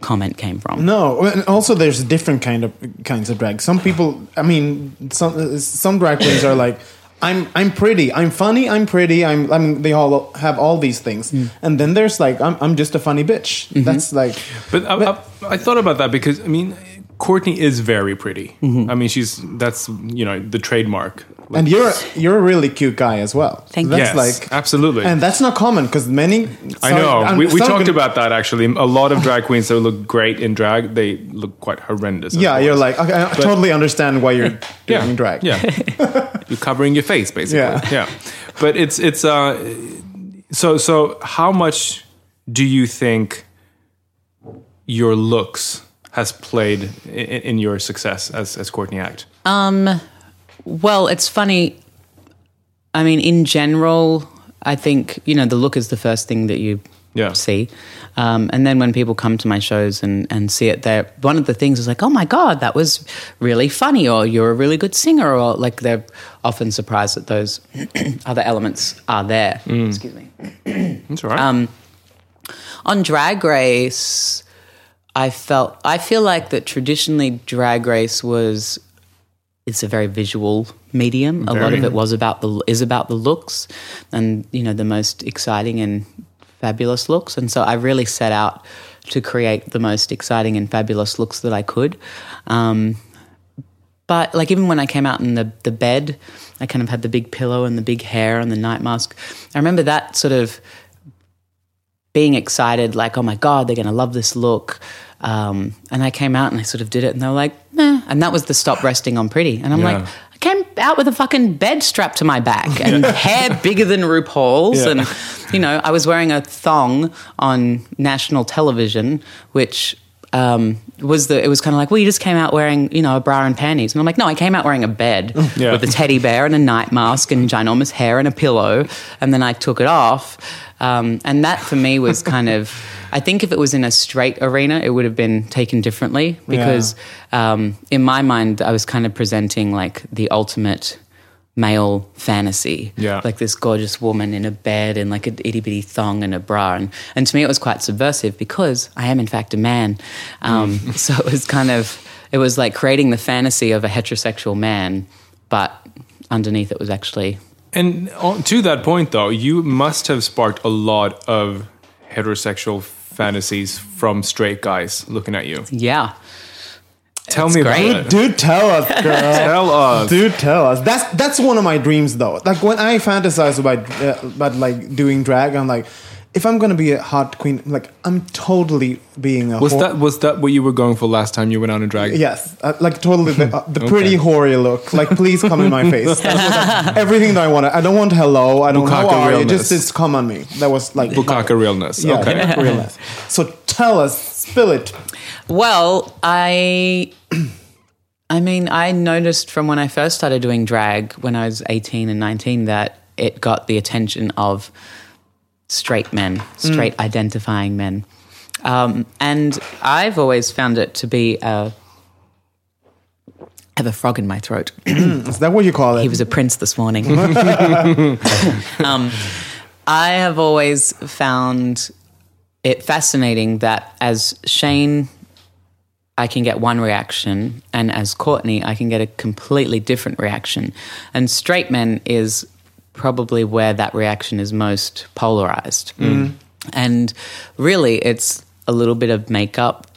Speaker 3: comment came from.
Speaker 1: No, and also there's different kind of kinds of drag. Some people, I mean, some some drag queens are like, I'm I'm pretty, I'm funny, I'm pretty, I'm I mean, they all have all these things, and then there's like, I'm I'm just a funny bitch. That's like,
Speaker 2: But I, I, I thought about that because I mean, Courtney is very pretty. I mean, she's that's you know the trademark.
Speaker 1: Mm-hmm. and you're you're a really cute guy as well.
Speaker 3: Thank
Speaker 1: that's
Speaker 2: yes,
Speaker 1: like
Speaker 2: absolutely.
Speaker 1: And that's not common because many.
Speaker 2: I know. we we talked about that actually. A lot of drag queens that look great in drag, they look quite horrendous.
Speaker 1: Yeah,
Speaker 2: afterwards.
Speaker 1: you're like okay, I totally understand why you're doing
Speaker 2: yeah,
Speaker 1: drag.
Speaker 2: Yeah, you're covering your face basically.
Speaker 1: Yeah.
Speaker 2: Yeah, But it's it's uh, so so. How much do you think your looks has played in, in your success as as Courtney Act?
Speaker 3: Um, Well, it's funny. I mean, in general, I think, you know, the look is the first thing that you
Speaker 2: Yeah.
Speaker 3: see. Um, and then when people come to my shows and, and see it there, one of the things is like, oh my God, that was really funny, or you're a really good singer, or like they're often surprised that those other elements are there. Excuse me.
Speaker 2: That's all right.
Speaker 3: On Drag Race, I felt, I feel like that traditionally Drag Race was, it's a very visual medium. A lot
Speaker 2: Very.
Speaker 3: of it was about the, is about the looks and, you know, the most exciting and fabulous looks. And so I really set out to create the most exciting and fabulous looks that I could. Um, but like even when I came out in the the bed, I kind of had the big pillow and the big hair and the night mask. I remember that sort of being excited, like, oh my god, they're going to love this look. Um, and I came out and I sort of did it, and they were like, meh. And that was the stop resting on pretty. And I'm
Speaker 2: Yeah.
Speaker 3: like, I came out with a fucking bed strapped to my back and hair bigger than RuPaul's.
Speaker 2: Yeah.
Speaker 3: And, you know, I was wearing a thong on national television, which um, was the, it was kind of like, well, you just came out wearing, you know, a bra and panties. And I'm like, no, I came out wearing a bed
Speaker 2: Yeah.
Speaker 3: with a teddy bear and a night mask and ginormous hair and a pillow. And then I took it off. Um, and that for me was kind of, I think if it was in a straight arena, it would have been taken differently because um, in my mind, I was kind of presenting like the ultimate male fantasy.
Speaker 2: Yeah.
Speaker 3: Like this gorgeous woman in a bed and like an itty bitty thong and a bra. And, and to me, it was quite subversive because I am, in fact, a man. Um, so it was kind of, it was like creating the fantasy of a heterosexual man, but underneath it was actually
Speaker 2: And on, to that point, though, you must have sparked a lot of heterosexual fantasies from straight guys looking at you.
Speaker 3: Yeah.
Speaker 2: Tell me
Speaker 3: great.
Speaker 2: about it.
Speaker 1: Do tell us, girl.
Speaker 2: Tell us.
Speaker 1: Do tell us. That's that's one of my dreams, though. Like when I fantasize about uh, about like doing drag, I'm like, if I'm gonna be a hot queen, like I'm totally being a.
Speaker 2: Was
Speaker 1: whore.
Speaker 2: that was that what you were going for last time you went out in drag?
Speaker 1: Yes, uh, like totally the, uh, the pretty hoary look. Like, please come in my face. That was, like, everything that I wanted. I don't want hello. I don't
Speaker 2: Bukkake
Speaker 1: know how are you.
Speaker 2: realness.
Speaker 1: Just, just come on me. That was like
Speaker 2: Bukaka realness.
Speaker 1: Yeah,
Speaker 2: Okay.
Speaker 1: realness. So tell us, spill it.
Speaker 3: Well, I I mean, I noticed from when I first started doing drag when I was 18 and 19 that it got the attention of straight men, straight identifying men. Um, and I've always found it to be a I have a frog in my throat.
Speaker 1: Is that what you call it?
Speaker 3: He was a prince this morning. um, I have always found it fascinating that as Shane, I can get one reaction, and as Courtney, I can get a completely different reaction. And straight men is probably where that reaction is most polarized. And really, it's a little bit of makeup,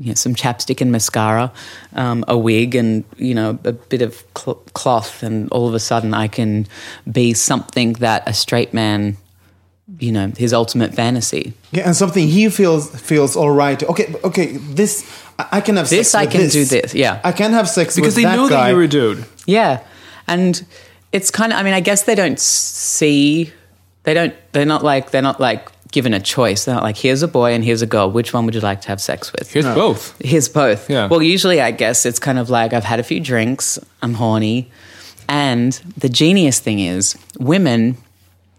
Speaker 3: you know, some chapstick and mascara, um, a wig, and you know, a bit of cl- cloth, and all of a sudden, I can be something that a straight man, you know, his ultimate fantasy.
Speaker 1: yeah, and something he feels feels all right. Okay, okay. This I, I can have.
Speaker 3: This
Speaker 1: sex
Speaker 3: I
Speaker 1: with
Speaker 3: can do this, yeah.
Speaker 1: I can have sex
Speaker 2: Because they
Speaker 1: with that
Speaker 2: knew that
Speaker 1: guy.
Speaker 2: you were a dude.
Speaker 3: Yeah, and it's kind of. I mean, I guess they don't see. They don't. They're not like. They're not like given a choice. They're not like here's a boy and here's a girl. Which one would you like to have sex with?
Speaker 2: Here's both.
Speaker 3: Here's both.
Speaker 2: Yeah.
Speaker 3: Well, usually I guess it's kind of like I've had a few drinks. I'm horny, and the genius thing is women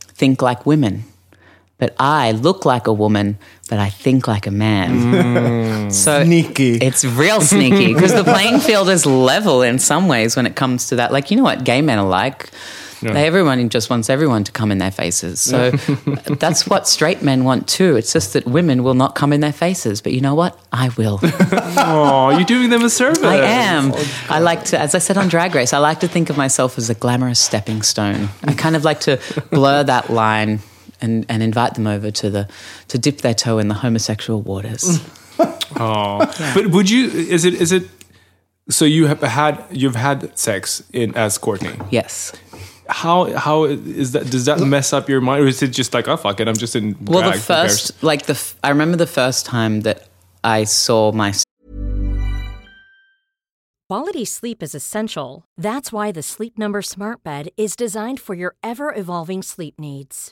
Speaker 3: think like women. But I look like a woman, but I think like a man.
Speaker 2: Mm.
Speaker 3: so
Speaker 1: Sneaky.
Speaker 3: it's real sneaky because the playing field is level in some ways when it comes to that. Like, you know what gay men are like? They, everyone just wants everyone to come in their faces. So that's what straight men want too. It's just that women will not come in their faces. But you know what? I will.
Speaker 2: Oh, you're doing them a service.
Speaker 3: I am. I like to, as I said on Drag Race, I like to think of myself as a glamorous stepping stone. I kind of like to blur that line. And, and invite them over to the to dip their toe in the homosexual waters.
Speaker 2: Oh, but would you? Is it? Is it? So you have had you've had sex in as Courtney.
Speaker 3: Yes.
Speaker 2: How how is that? Does that mess up your mind, or is it just like oh fuck it? I'm just in.
Speaker 3: Well,
Speaker 2: drag,
Speaker 3: the
Speaker 2: who cares?
Speaker 3: first, like the, f- I remember the first time that I saw my
Speaker 4: Quality sleep is essential. That's why the Sleep Number Smart Bed is designed for your ever evolving sleep needs.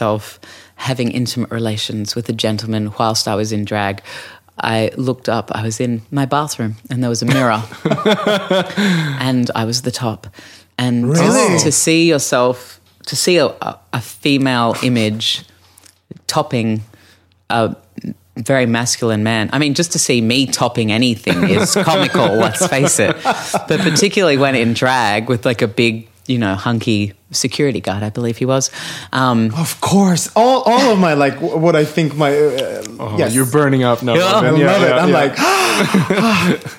Speaker 3: of having intimate relations with a gentleman whilst I was in drag. I looked up, I was in my bathroom and there was a mirror and I was the top. And to-
Speaker 1: Really?
Speaker 3: to see yourself, to see a, a a female image topping a very masculine man. I mean, just to see me topping anything is comical, let's face it. But particularly when in drag with like a big, you know, hunky security guard, I believe he was. Um,
Speaker 1: Of course, all all of my like w- what I think my uh,
Speaker 2: Oh,
Speaker 1: yes,
Speaker 2: You're burning up now.
Speaker 3: Yeah.
Speaker 1: I
Speaker 2: Robin.
Speaker 1: love
Speaker 2: Yeah,
Speaker 1: it.
Speaker 2: yeah,
Speaker 1: I'm
Speaker 2: yeah.
Speaker 1: like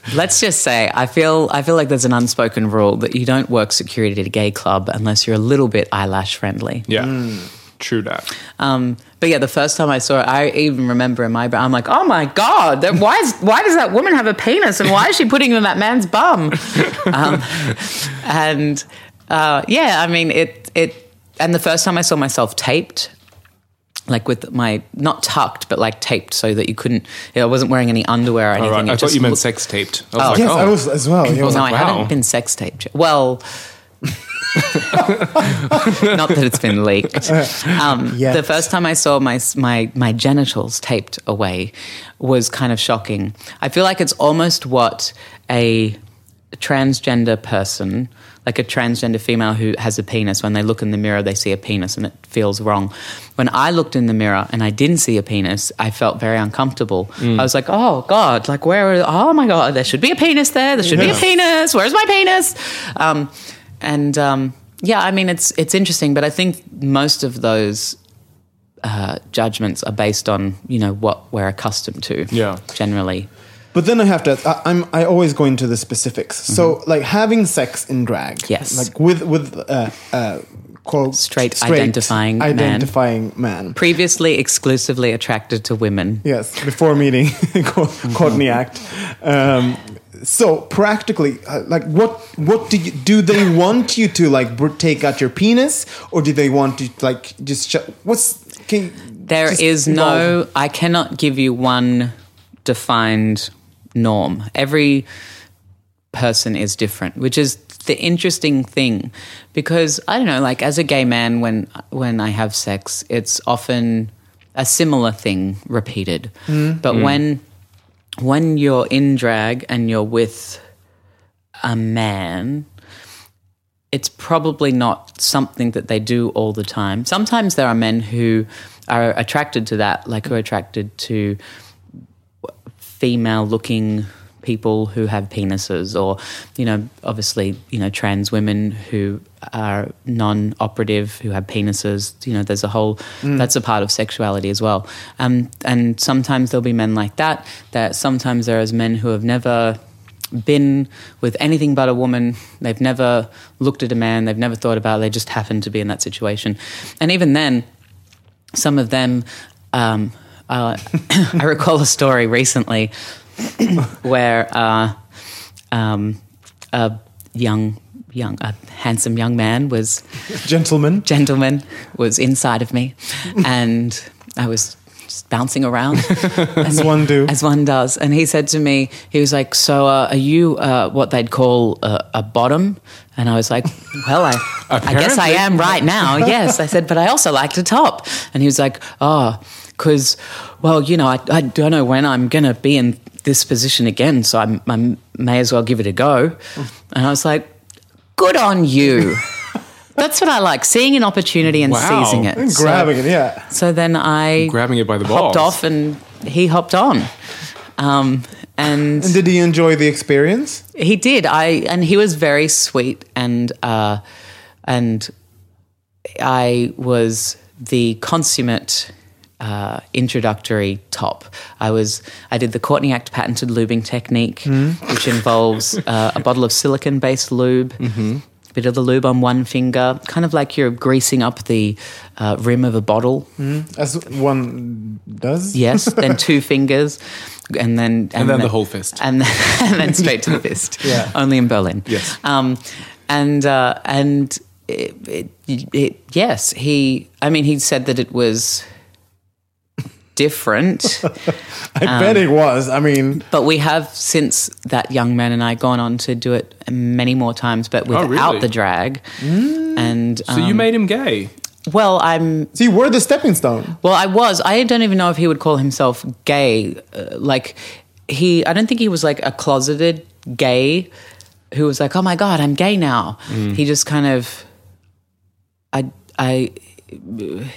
Speaker 3: Let's just say I feel I feel like there's an unspoken rule that you don't work security at a gay club unless you're a little bit eyelash friendly.
Speaker 2: yeah.
Speaker 1: hmm.
Speaker 2: True that.
Speaker 3: Um, but yeah, the first time I saw it, I even remember in my I'm like, oh my god, that, why is why does that woman have a penis and why is she putting it in that man's bum? um, and uh, yeah, I mean it it and the first time I saw myself taped. Like with my not tucked, but like taped, so that you couldn't. I wasn't wearing any underwear or
Speaker 2: All
Speaker 3: anything.
Speaker 2: right. I
Speaker 3: It
Speaker 2: thought
Speaker 3: just
Speaker 2: you meant
Speaker 3: looked-
Speaker 2: sex taped. I was like,
Speaker 1: yes,
Speaker 2: oh.
Speaker 1: I was as well. Yeah.
Speaker 3: no,
Speaker 2: like,
Speaker 3: I
Speaker 2: wow.
Speaker 3: haven't been sex taped. yet. Well, not that it's been leaked. Um,
Speaker 1: Yes.
Speaker 3: The first time I saw my my my genitals taped away was kind of shocking. I feel like it's almost what a transgender person, like a transgender female who has a penis, when they look in the mirror, they see a penis and it feels wrong. When I looked in the mirror and I didn't see a penis, I felt very uncomfortable. I was like, oh God, like where, are, oh my God, there should be a penis there. There should be a penis. Where's my penis? Um, and um, yeah, I mean, it's, it's interesting, but I think most of those uh, judgments are based on, you know, what we're accustomed to
Speaker 2: Yeah.
Speaker 3: generally.
Speaker 1: But then I have to. I, I'm. I always go into the specifics. So like having sex in drag.
Speaker 3: Mm-hmm. Yes.
Speaker 1: Like with with uh, uh, quote
Speaker 3: Straight identifying man.
Speaker 1: identifying man.
Speaker 3: Previously exclusively attracted to women.
Speaker 1: Yes, before meeting Co- Courtney Act. Um, so practically, uh, like, what what do you do? They want you to like br- take out your penis, or do they want to like just sh- what's? Can,
Speaker 3: There
Speaker 1: just
Speaker 3: is
Speaker 1: involve-
Speaker 3: no, I cannot give you one defined norm. Every person is different, which is the interesting thing because I don't know, like as a gay man when when I have sex, it's often a similar thing repeated. But when when you're in drag and you're with a man, it's probably not something that they do all the time. Sometimes there are men who are attracted to that, like who are attracted to female looking people who have penises or you know obviously you know trans women who are non-operative who have penises you know there's a whole that's a part of sexuality as well um, and sometimes there'll be men like that that sometimes there is men who have never been with anything but a woman. They've never looked at a man. They've never thought about. It. They just happened to be in that situation, and even then, some of them. Um, uh, I recall a story recently where uh, um, a young, young, a handsome young man was
Speaker 1: gentlemen.
Speaker 3: gentleman was inside of me, and I was just bouncing around. as
Speaker 1: one do.
Speaker 3: As one does. And he said to me, he was like, so uh, are you uh, what they'd call a, a bottom? And I was like, well, I, I guess I
Speaker 2: Apparently.
Speaker 3: am right now. Yes. I said, but I also like to top. And he was like, oh, because, well, you know, I, I don't know when I'm going to be in this position again. So I'm, I may as well give it a go. And I was like, good on you. That's what I like, seeing an opportunity and
Speaker 2: Wow.
Speaker 3: seizing it. So-
Speaker 1: grabbing it. Yeah.
Speaker 3: so then I
Speaker 2: Grabbing it by the
Speaker 3: hopped
Speaker 2: balls.
Speaker 3: off, and he hopped on. Um, and
Speaker 1: And did you enjoy the experience?
Speaker 3: he did. I and he was very sweet, and uh, and I was the consummate. Uh, introductory top. I was. I did the Courtney Act patented lubing technique,
Speaker 2: Hmm.
Speaker 3: which involves uh, a bottle of silicon-based lube,
Speaker 2: Mm-hmm.
Speaker 3: bit of the lube on one finger, kind of like you're greasing up the uh, rim of a bottle.
Speaker 2: Hmm.
Speaker 1: As one does.
Speaker 3: Yes, then two fingers, and then and,
Speaker 2: then the whole fist.
Speaker 3: and then, and then straight to the fist.
Speaker 1: Yeah.
Speaker 3: only in Berlin.
Speaker 2: Yes.
Speaker 3: um, and uh, and it, it, it, yes, he. I mean, he said that it was different,
Speaker 1: I
Speaker 3: um,
Speaker 1: bet it was. I mean,
Speaker 3: but we have since that young man and I gone on to do it many more times, but without
Speaker 2: Oh, really? Mm.
Speaker 3: the drag. And
Speaker 2: So you
Speaker 3: um,
Speaker 2: made him gay.
Speaker 3: well, I'm
Speaker 1: see, we're the stepping stone.
Speaker 3: Well, I was. I don't even know if he would call himself gay. Uh, like he, I don't think he was like a closeted gay who was like, "Oh my god, I'm gay now." He just kind of, I, I,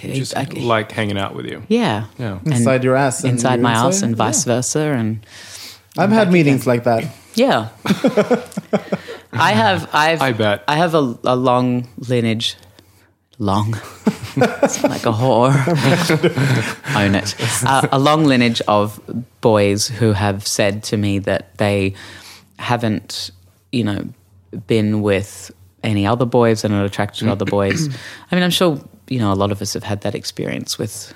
Speaker 2: Just
Speaker 3: I-
Speaker 2: like hanging out with you.
Speaker 3: yeah,
Speaker 2: Yeah.
Speaker 3: And
Speaker 1: Inside your ass and
Speaker 3: inside
Speaker 1: your
Speaker 3: my ass,
Speaker 1: inside,
Speaker 3: and vice versa, and
Speaker 1: I've had meetings like that.
Speaker 3: yeah. I have, I've,
Speaker 2: I bet.
Speaker 3: I have a, a long lineage. Long, It's like a whore. own it. Uh, a long lineage of boys who have said to me that they haven't, you know, been with any other boys and are attracted to other boys. I mean, I'm sure, you know, a lot of us have had that experience with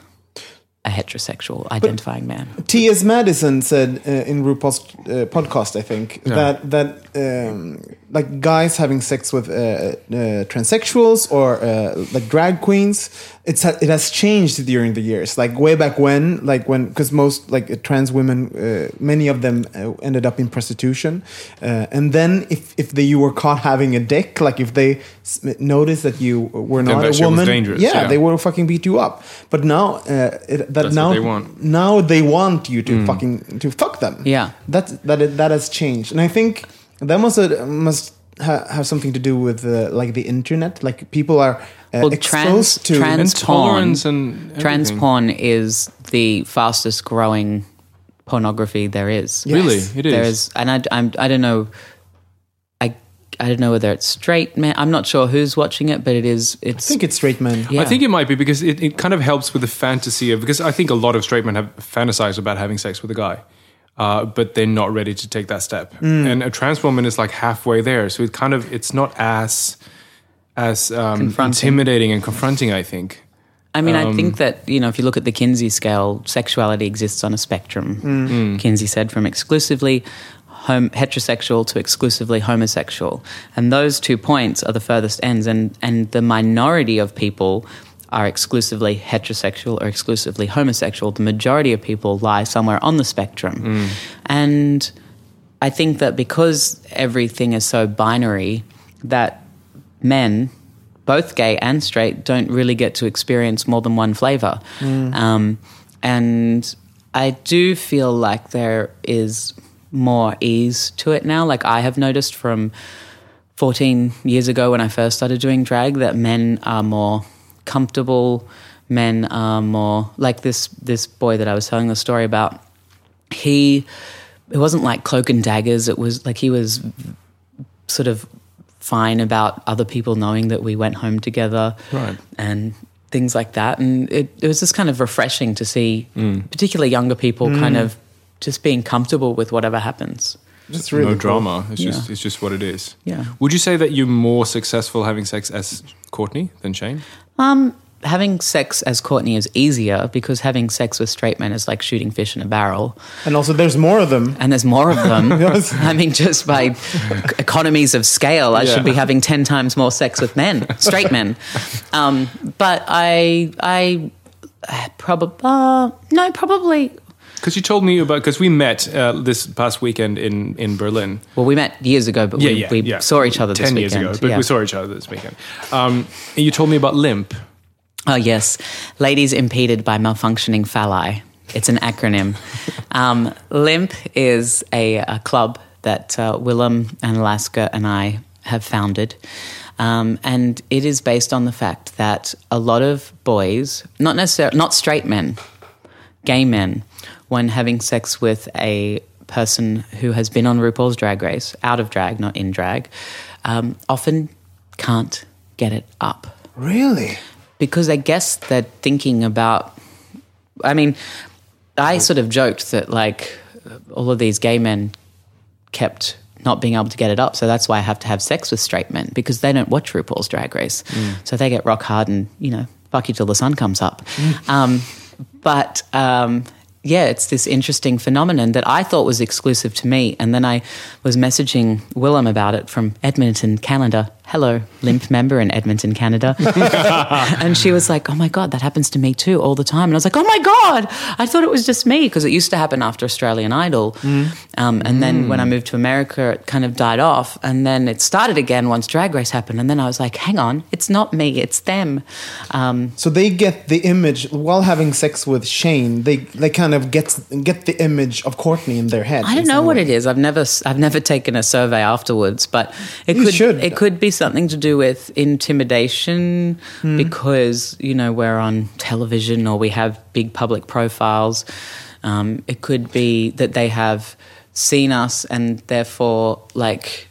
Speaker 3: a heterosexual identifying man.
Speaker 1: T.S. Madison said uh, in RuPaul's uh, podcast, I think, that that um, like guys having sex with uh, uh, transsexuals or uh, like drag queens, it's ha- it has changed during the years. Like way back when, like when because most like uh, trans women, uh, many of them uh, ended up in prostitution, uh, and then if if they, you were caught having a dick, like if they s- noticed that you were
Speaker 2: Then
Speaker 1: not
Speaker 2: that
Speaker 1: a
Speaker 2: shit was
Speaker 1: woman,
Speaker 2: dangerous,
Speaker 1: yeah,
Speaker 2: yeah.
Speaker 1: they will fucking beat you up. But now uh, it, that
Speaker 2: That's what
Speaker 1: now
Speaker 2: they want.
Speaker 1: now they want you to fucking to fuck them.
Speaker 3: Mm. Yeah.
Speaker 1: that that that has changed, and I think that must uh, must ha- have something to do with uh, like the internet. Like people are uh,
Speaker 3: Well, trans,
Speaker 1: exposed to
Speaker 3: trans
Speaker 2: And
Speaker 3: porn-
Speaker 2: tolerance and
Speaker 3: trans
Speaker 2: everything.
Speaker 3: porn is the fastest growing pornography there is.
Speaker 2: Really,
Speaker 1: Yes.
Speaker 2: it is.
Speaker 3: There is, and I, I'm, I don't know. I, I don't know whether it's straight men. I'm not sure who's watching it, but it is.
Speaker 1: I
Speaker 3: It's
Speaker 1: think it's straight men.
Speaker 3: Yeah.
Speaker 2: I think it might be because it, it kind of helps with the fantasy of because I think a lot of straight men have fantasized about having sex with a guy, uh, but they're not ready to take that step.
Speaker 3: Mm.
Speaker 2: And a trans woman is like halfway there, so it kind of it's not as as um,
Speaker 3: Confronting.
Speaker 2: intimidating and confronting. I think.
Speaker 3: I mean, I think that, you know, if you look at the Kinsey scale, sexuality exists on a spectrum. Mm. Kinsey said from exclusively hom heterosexual to exclusively homosexual. And those two points are the furthest ends. And, and the minority of people are exclusively heterosexual or exclusively homosexual. The majority of people lie somewhere on the spectrum. And I think that because everything is so binary, that men, both gay and straight, don't really get to experience more than one flavor. Um, and I do feel like there is more ease to it now. Like I have noticed from 14 years ago when I first started doing drag that men are more comfortable. Men are more like this this boy that I was telling the story about. He it wasn't like cloak and daggers. It was like he was sort of fine about other people knowing that we went home together
Speaker 2: Right.
Speaker 3: and things like that. And it, it was just kind of refreshing to see, particularly younger people, kind of just being comfortable with whatever happens.
Speaker 1: It's really
Speaker 2: no
Speaker 1: cool.
Speaker 2: drama. It's
Speaker 3: Yeah.
Speaker 2: just it's just what it is.
Speaker 3: Yeah.
Speaker 2: Would you say that you're more successful having sex as Courtney than Shane?
Speaker 3: Um, having sex as Courtney is easier because having sex with straight men is like shooting fish in a barrel.
Speaker 1: And also, there's more of them.
Speaker 3: and there's more of them. I mean, just by e- economies of scale, I
Speaker 2: Yeah.
Speaker 3: should be having ten times more sex with men, straight men. Um, but I, I, probably uh, no, probably.
Speaker 2: Because you told me about because we met uh, this past weekend in in Berlin.
Speaker 3: Well, we met years ago, but we, we saw each other
Speaker 2: ten
Speaker 3: this weekend.
Speaker 2: years ago, but
Speaker 3: yeah.
Speaker 2: we saw each other this weekend. Um, and you told me about limp.
Speaker 3: Oh, yes. Ladies Impeded by Malfunctioning Phalli. It's an acronym. um, LIMP is a, a club that uh, Willem and Alaska and I have founded. Um, and it is based on the fact that a lot of boys, not necessarily, not straight men, gay men when having sex with a person who has been on RuPaul's Drag Race, out of drag, not in drag, um, often can't get it up
Speaker 1: Really?
Speaker 3: because I guess they're thinking about. I mean, I sort of joked that like all of these gay men kept not being able to get it up, so that's why I have to have sex with straight men because they don't watch RuPaul's Drag Race, so they get rock hard and you know fuck you till the sun comes up. um, but um, yeah, it's this interesting phenomenon that I thought was exclusive to me, and then I was messaging Willem about it from Edmonton, Canada. Hello, limp member in Edmonton, Canada. and she was like, "Oh my god, that happens to me too all the time." And I was like, "Oh my god, I thought it was just me because it used to happen after Australian Idol." Um, and then when I moved to America, it kind of died off, and then it started again once Drag Race happened. And then I was like, "Hang on, it's not me, it's them." Um,
Speaker 1: So they get the image while having sex with Shane. They they kind of get get the image of Courtney in their head.
Speaker 3: I don't know what it is. I've never s- I've never taken a survey afterwards, but it
Speaker 1: You
Speaker 3: could
Speaker 1: should.
Speaker 3: it could be something to do with intimidation
Speaker 1: Hmm.
Speaker 3: because you know we're on television or we have big public profiles. Um, it could be that they have seen us and therefore like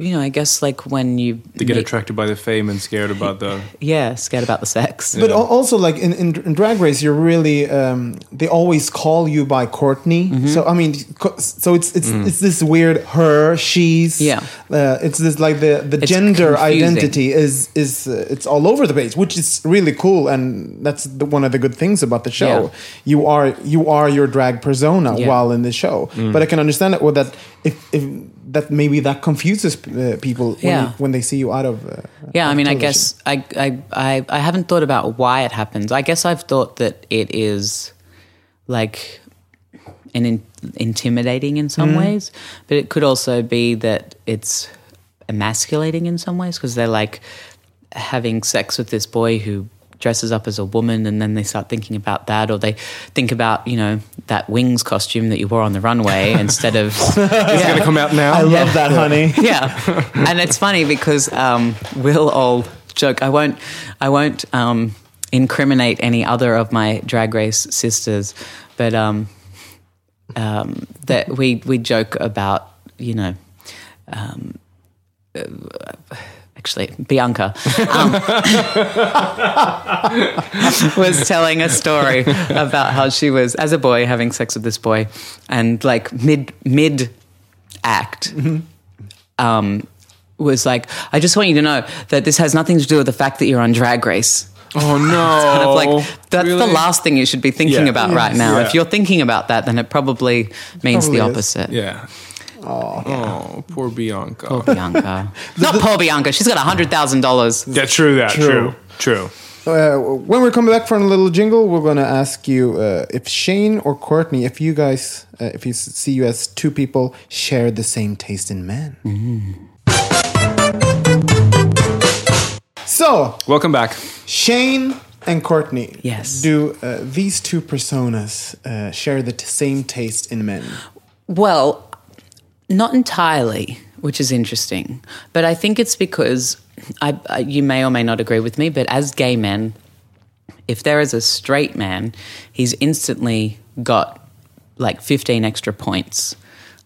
Speaker 3: you know I guess like when you
Speaker 2: They get
Speaker 3: meet-
Speaker 2: attracted by the fame and scared about the.
Speaker 3: yeah scared about the sex.
Speaker 1: But al- also, like in, in, in Drag Race, you're really um, they always call you by Courtney.
Speaker 3: Mm-hmm.
Speaker 1: So I mean, co- so it's it's it's this weird her, she's.
Speaker 3: Mm. Yeah.
Speaker 1: Uh, it's this like the the
Speaker 3: It's
Speaker 1: gender
Speaker 3: confusing.
Speaker 1: identity is is uh, it's all over the place, which is really cool, and that's the, one of the good things about the show.
Speaker 3: Yeah.
Speaker 1: You are you are your drag persona
Speaker 3: Yeah. Mm.
Speaker 1: while in the show, but I can understand it. Well, that if, if that maybe that confuses uh, people when,
Speaker 3: Yeah.
Speaker 1: you- when they see you out of. Uh,
Speaker 3: Yeah,
Speaker 1: out
Speaker 3: I
Speaker 1: of
Speaker 3: mean, I
Speaker 1: television.
Speaker 3: guess I, I I I haven't thought about why it happens. I guess I've thought that it is like an in, intimidating in some ways, but it could also be that it's emasculating in some ways because they're like having sex with this boy who dresses up as a woman and then they start thinking about that or they think about you know that wings costume that you wore on the runway instead of
Speaker 2: It's going to come out now.
Speaker 1: I love that, honey.
Speaker 3: yeah, and it's funny because um, we'll all joke. I won't. I won't um, incriminate any other of my drag race sisters, but um, um, that we we joke about you know. Um, uh, Actually, Bianca um, was telling a story about how she was, as a boy, having sex with this boy, and like mid mid act, um, was like, I just want you to know that this has nothing to do with the fact that you're on Drag Race.
Speaker 2: Oh no!
Speaker 3: Kind of like that's the
Speaker 2: Really?
Speaker 3: last thing you should be thinking
Speaker 2: Yeah.
Speaker 3: about
Speaker 2: Yes.
Speaker 3: right now.
Speaker 2: Yeah.
Speaker 3: If you're thinking about that, then it probably
Speaker 1: Probably
Speaker 3: means
Speaker 1: is.
Speaker 3: the opposite.
Speaker 2: Yeah. Oh, poor Bianca.
Speaker 3: Poor Bianca, not poor Bianca. She's got hundred thousand dollars.
Speaker 2: Yeah, true that.
Speaker 1: True.
Speaker 2: True. True.
Speaker 1: Uh, when we're coming back from a little jingle, we're gonna ask you uh, if Shane or Courtney, if you guys, uh, if you s- see you as two people, share the same taste in men. So
Speaker 2: Welcome back.
Speaker 1: Shane and Courtney,
Speaker 3: Yes.
Speaker 1: do uh, these two personas uh, share the t- same taste in men?
Speaker 3: Well, not entirely, which is interesting. But I think it's because I, I, you may or may not agree with me, but as gay men, if there is a straight man, he's instantly got like 15 extra points,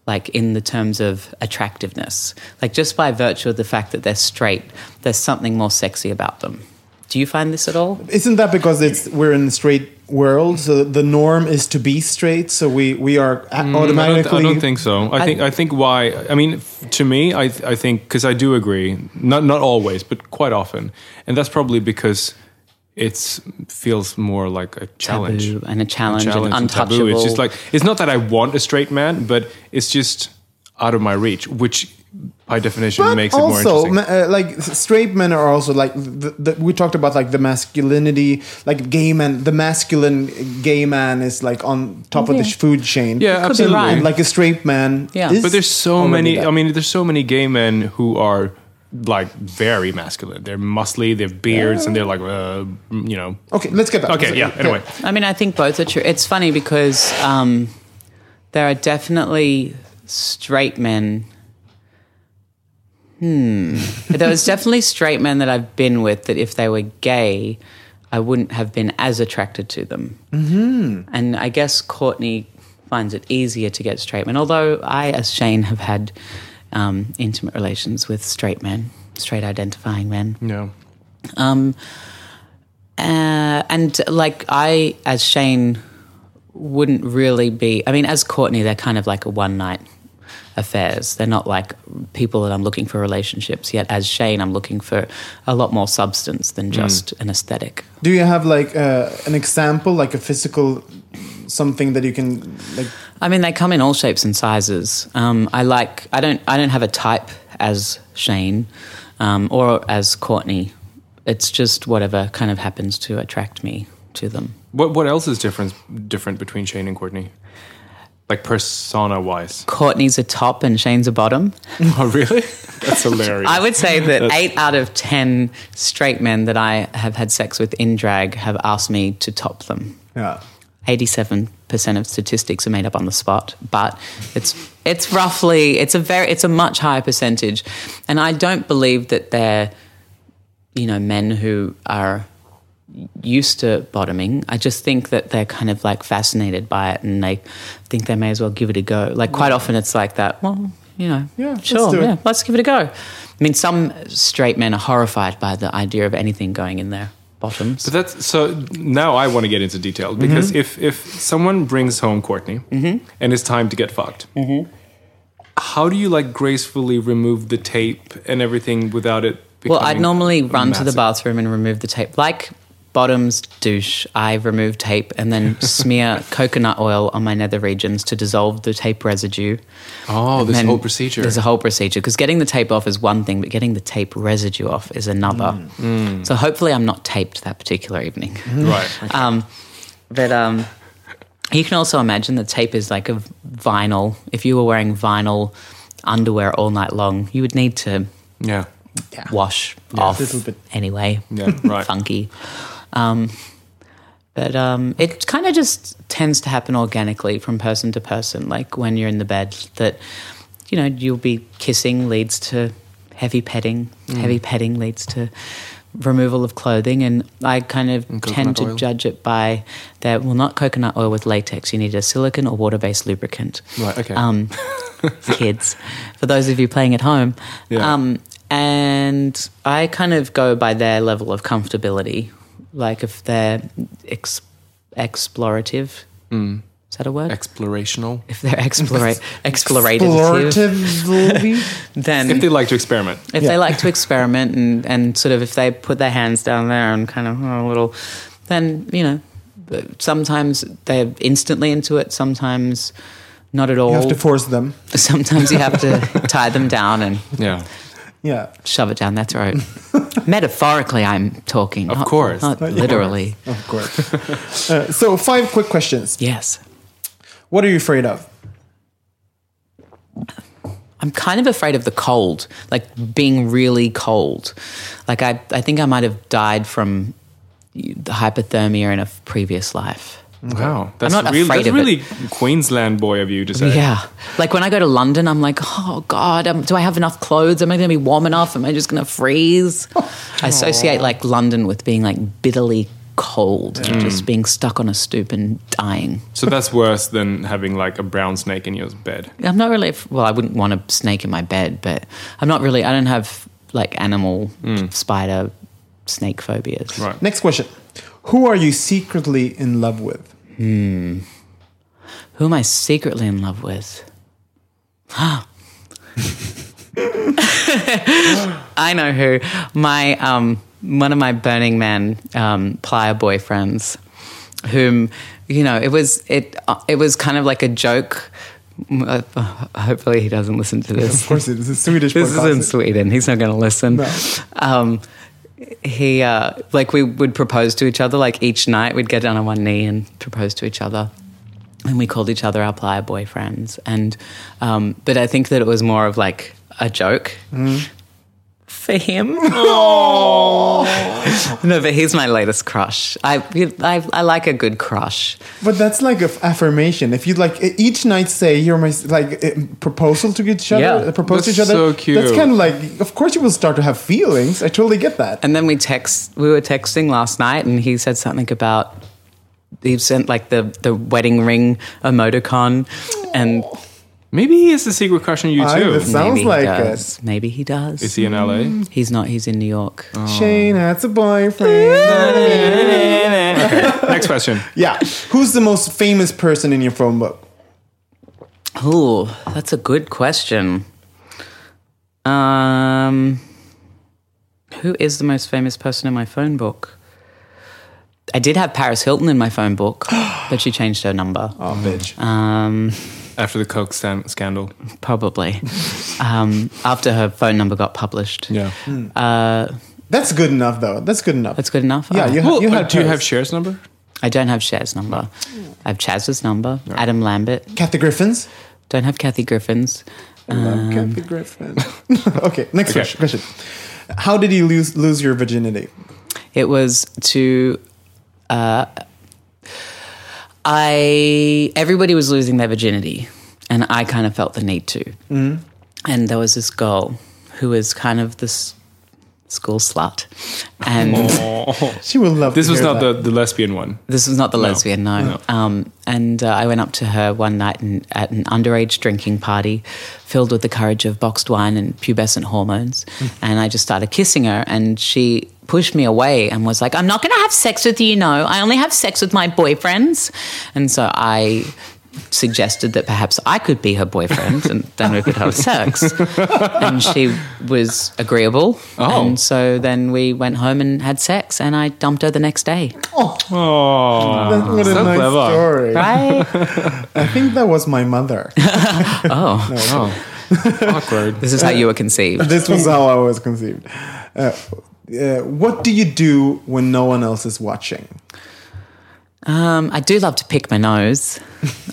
Speaker 3: like in the terms of attractiveness. Like just by virtue of the fact that they're straight, there's something more sexy about them. Do you find this at all?
Speaker 1: Isn't that because it's we're in the straight world, so the norm is to be straight, so we we are a-
Speaker 2: Mm, I
Speaker 1: automatically.
Speaker 2: don't, I don't think so. I think I think why I mean f- to me I I think because I do agree not not always but quite often and that's probably because it feels more like a challenge
Speaker 3: Taboo and a challenge, and
Speaker 2: and
Speaker 3: untouchable.
Speaker 2: taboo. It's just like it's not that I want a straight man but it's just out of my reach which by definition makes it more
Speaker 1: also,
Speaker 2: interesting.
Speaker 1: ma- uh, like straight men are also like the, the, we talked about like the masculinity, like gay man. The masculine gay man is like on top of the sh- food chain.
Speaker 2: Yeah,
Speaker 3: be
Speaker 2: absolutely.
Speaker 3: right.
Speaker 1: And like a straight man.
Speaker 3: Yeah.
Speaker 1: is
Speaker 2: but there's so
Speaker 1: already
Speaker 2: many.
Speaker 1: that.
Speaker 2: I mean, there's so many gay men who are like very masculine. They're muscly. They have beards, and they're like, uh, you know.
Speaker 1: okay, let's get back. to
Speaker 2: Okay,
Speaker 1: it.
Speaker 2: yeah. Anyway,
Speaker 3: I mean, I think both are true. It's funny because um, there are definitely straight men. Hmm. there was definitely straight men that I've been with that if they were gay, I wouldn't have been as attracted to them. Mm-hmm. And I guess Courtney finds it easier to get straight men, although I, as Shane, have had um, intimate relations with straight men, straight identifying men.
Speaker 2: no.
Speaker 3: Um, uh, and like I, as Shane, wouldn't really be. I mean, as Courtney, they're kind of like a one night affairs. They're not like people that I'm looking for relationships. Yet, as Shane, I'm looking for a lot more substance than just an aesthetic.
Speaker 1: Do you have like uh, an example, like a physical something that you can like?
Speaker 3: I mean, they come in all shapes and sizes. Um, I like. I don't. I don't have a type as Shane um, or as Courtney. It's just whatever kind of happens to attract me to them.
Speaker 2: What what else is different different between Shane and Courtney? Like persona wise.
Speaker 3: Courtney's a top and Shane's a bottom.
Speaker 2: oh, really? That's hilarious.
Speaker 3: I would say that eight out of 10 straight men that I have had sex with in drag have asked me to top them.
Speaker 1: Yeah.
Speaker 3: 87% of statistics are made up on the spot, but it's, it's roughly, it's a very, it's a much higher percentage. And I don't believe that they're, you know, men who are used to bottoming. I just think that they're kind of like fascinated by it and they think they may as well give it a go. Like quite often it's like that, well, you know,
Speaker 1: Yeah, let's
Speaker 3: sure,
Speaker 1: do it.
Speaker 3: yeah, let's give it a go. I mean, some straight men are horrified by the idea of anything going in their bottoms.
Speaker 2: So that's so now I want to get into
Speaker 3: Mm-hmm.
Speaker 2: detail because if if someone brings home Courtney and it's time to get fucked,
Speaker 3: Mm-hmm.
Speaker 2: how do you like gracefully remove the tape and everything without it?
Speaker 3: Well, I'd
Speaker 2: becoming
Speaker 3: normally
Speaker 2: a
Speaker 3: run to the
Speaker 2: massive-
Speaker 3: bathroom and remove the tape. Like bottoms douche, I remove tape and then smear coconut oil on my nether regions to dissolve the tape residue.
Speaker 2: Oh, this
Speaker 3: And
Speaker 2: whole procedure.
Speaker 3: There's a whole procedure because getting the tape off is one thing, but getting the tape residue off is another.
Speaker 2: Mm.
Speaker 3: So hopefully, I'm not taped that particular evening.
Speaker 2: right. okay.
Speaker 3: Um, but um, you can also imagine the tape is like a vinyl. If you were wearing vinyl underwear all night long, you would need to
Speaker 2: yeah.
Speaker 3: wash off
Speaker 1: little bit.
Speaker 3: anyway.
Speaker 2: Yeah, right.
Speaker 3: Funky. Um, but um, it kind of just tends to happen organically from person to person. Like when you're in the bed, that you know you'll be kissing leads to heavy petting.
Speaker 2: Mm.
Speaker 3: Heavy petting leads to removal of clothing, and I kind of tend
Speaker 2: coconut
Speaker 3: to
Speaker 2: oil.
Speaker 3: judge it by that. Well, not coconut oil with latex. You need a silicon or water-based lubricant
Speaker 2: Right, okay.
Speaker 3: um, kids, for those of you playing at home.
Speaker 2: Yeah.
Speaker 3: Um, and I kind of go by their level of comfortability. Like if they're ex- explorative, is that a word?
Speaker 2: Explorational.
Speaker 3: if they're explora- explorative,
Speaker 1: Exploratively.
Speaker 3: then
Speaker 2: If they like to experiment.
Speaker 3: if they like to experiment and, and sort of if they put their hands down there and kind of oh, a little, then, you know, but sometimes they're instantly into it, sometimes not at all.
Speaker 1: you have to force them.
Speaker 3: sometimes you have to tie them down and
Speaker 2: Yeah.
Speaker 1: Yeah.
Speaker 3: shove it down their throat. Metaphorically, I'm talking.
Speaker 2: Of
Speaker 3: not-
Speaker 2: course.
Speaker 3: Not
Speaker 2: Of
Speaker 3: literally.
Speaker 1: Of course. uh, so five quick questions.
Speaker 3: Yes.
Speaker 1: What are you afraid of?
Speaker 3: I'm kind of afraid of the cold, like being really cold. Like, I, I think I might have died from the hypothermia in a previous life.
Speaker 2: Wow. That's
Speaker 3: not
Speaker 2: really,
Speaker 3: afraid
Speaker 2: that's
Speaker 3: of
Speaker 2: really Queensland boy of you to say.
Speaker 3: Yeah. Like when I go to London, I'm like, oh God, um, do I have enough clothes? Am I going to be warm enough? Am I just going to freeze?
Speaker 2: Oh.
Speaker 3: I associate like London with being like bitterly cold,
Speaker 2: Mm.
Speaker 3: and just being stuck on a stoop and dying.
Speaker 2: So that's worse than having like a brown snake in your bed.
Speaker 3: I'm not really, well, I wouldn't want a snake in my bed, but I'm not really, I don't have like animal, spider, snake phobias.
Speaker 2: Right.
Speaker 1: Next question. Who are you secretly in love with?
Speaker 3: Who am I secretly in love with? I know who. My um, one of my Burning Man um, plier boyfriends, whom you know, it was it uh, it was kind of like a joke Uh, hopefully, he doesn't listen to this.
Speaker 1: Of course, it is a Swedish
Speaker 3: this is in
Speaker 1: podcast.
Speaker 3: Sweden. He's not going to listen.
Speaker 1: No.
Speaker 3: Um, he uh, like we would propose to each other. Like each night, we'd get down on one knee and propose to each other. And we called each other our plier boyfriends. And um, but I think that it was more of like a joke
Speaker 1: Mm.
Speaker 3: for him. no, but he's my latest crush. I, I I like a good crush.
Speaker 1: But that's like an affirmation. If you like e- each night say you're my s- like eh, proposal to each other,
Speaker 3: Yeah.
Speaker 1: uh, propose to
Speaker 2: That's
Speaker 1: each other.
Speaker 2: so cute.
Speaker 1: That's kind of like, of course, you will start to have feelings. I totally get that.
Speaker 3: And then we text. We were texting last night, and he said something about he sent like the the wedding ring emoticon, and
Speaker 2: Maybe he has a secret crush on you
Speaker 1: I-
Speaker 2: too.
Speaker 1: this sound- Sounds
Speaker 3: maybe
Speaker 1: like
Speaker 3: he
Speaker 1: it.
Speaker 3: does. Maybe he does.
Speaker 2: Is he in LA?
Speaker 3: He's not. He's in New York.
Speaker 1: Shane has a boyfriend.
Speaker 2: Next question.
Speaker 1: yeah, who's the most famous person in your phone book?
Speaker 3: Oh, that's a good question. Um, who is the most famous person in my phone book? I did have Paris Hilton in my phone book, but she changed her number.
Speaker 1: Oh, bitch.
Speaker 3: Um,
Speaker 2: After the Coke stan- scandal.
Speaker 3: probably um, after her phone number got published.
Speaker 2: Yeah.
Speaker 1: That's good enough, though. That's good enough.
Speaker 3: That's good enough.
Speaker 1: Yeah,
Speaker 3: Uh,
Speaker 1: you have.
Speaker 2: Well,
Speaker 1: you
Speaker 2: uh,
Speaker 1: had
Speaker 2: do you
Speaker 1: Paris.
Speaker 2: have Cher's number?
Speaker 3: I don't have Cher's number. I have Chaz's number. Adam Lambert.
Speaker 1: Kathy Griffins.
Speaker 3: Don't have Kathy Griffin's. Um.
Speaker 1: Kathy Griffin. okay, next
Speaker 2: Okay.
Speaker 1: question- question. How did you lose lose your virginity?
Speaker 3: It was to. Uh, I everybody was losing their virginity, and I kind of felt the need to. And there was this girl who was kind of this school slut, and
Speaker 1: She will love.
Speaker 2: This
Speaker 1: to
Speaker 2: was
Speaker 1: hear
Speaker 2: not
Speaker 1: that.
Speaker 2: the, the lesbian one.
Speaker 3: This was not the lesbian, no. Um, and uh, I went up to her one night in, at an underage drinking party filled with the courage of boxed wine and pubescent hormones. And I just started kissing her, and she pushed me away and was like, I'm not going to have sex with you, you know. I only have sex with my boyfriends. And so I suggested that perhaps I could be her boyfriend and then we could have sex. and she was agreeable.
Speaker 2: Oh.
Speaker 3: And so then we went home and had sex, and I dumped her the next day.
Speaker 2: Oh,
Speaker 1: That- what a
Speaker 2: so
Speaker 1: nice
Speaker 2: clever.
Speaker 1: story.
Speaker 3: Uh-huh. Right?
Speaker 1: I think that was my mother.
Speaker 2: Oh. Awkward.
Speaker 3: This is how you were conceived.
Speaker 1: this was how I was conceived. Uh, uh, what do you do when no one else is watching?
Speaker 3: Um, I do love to pick my nose.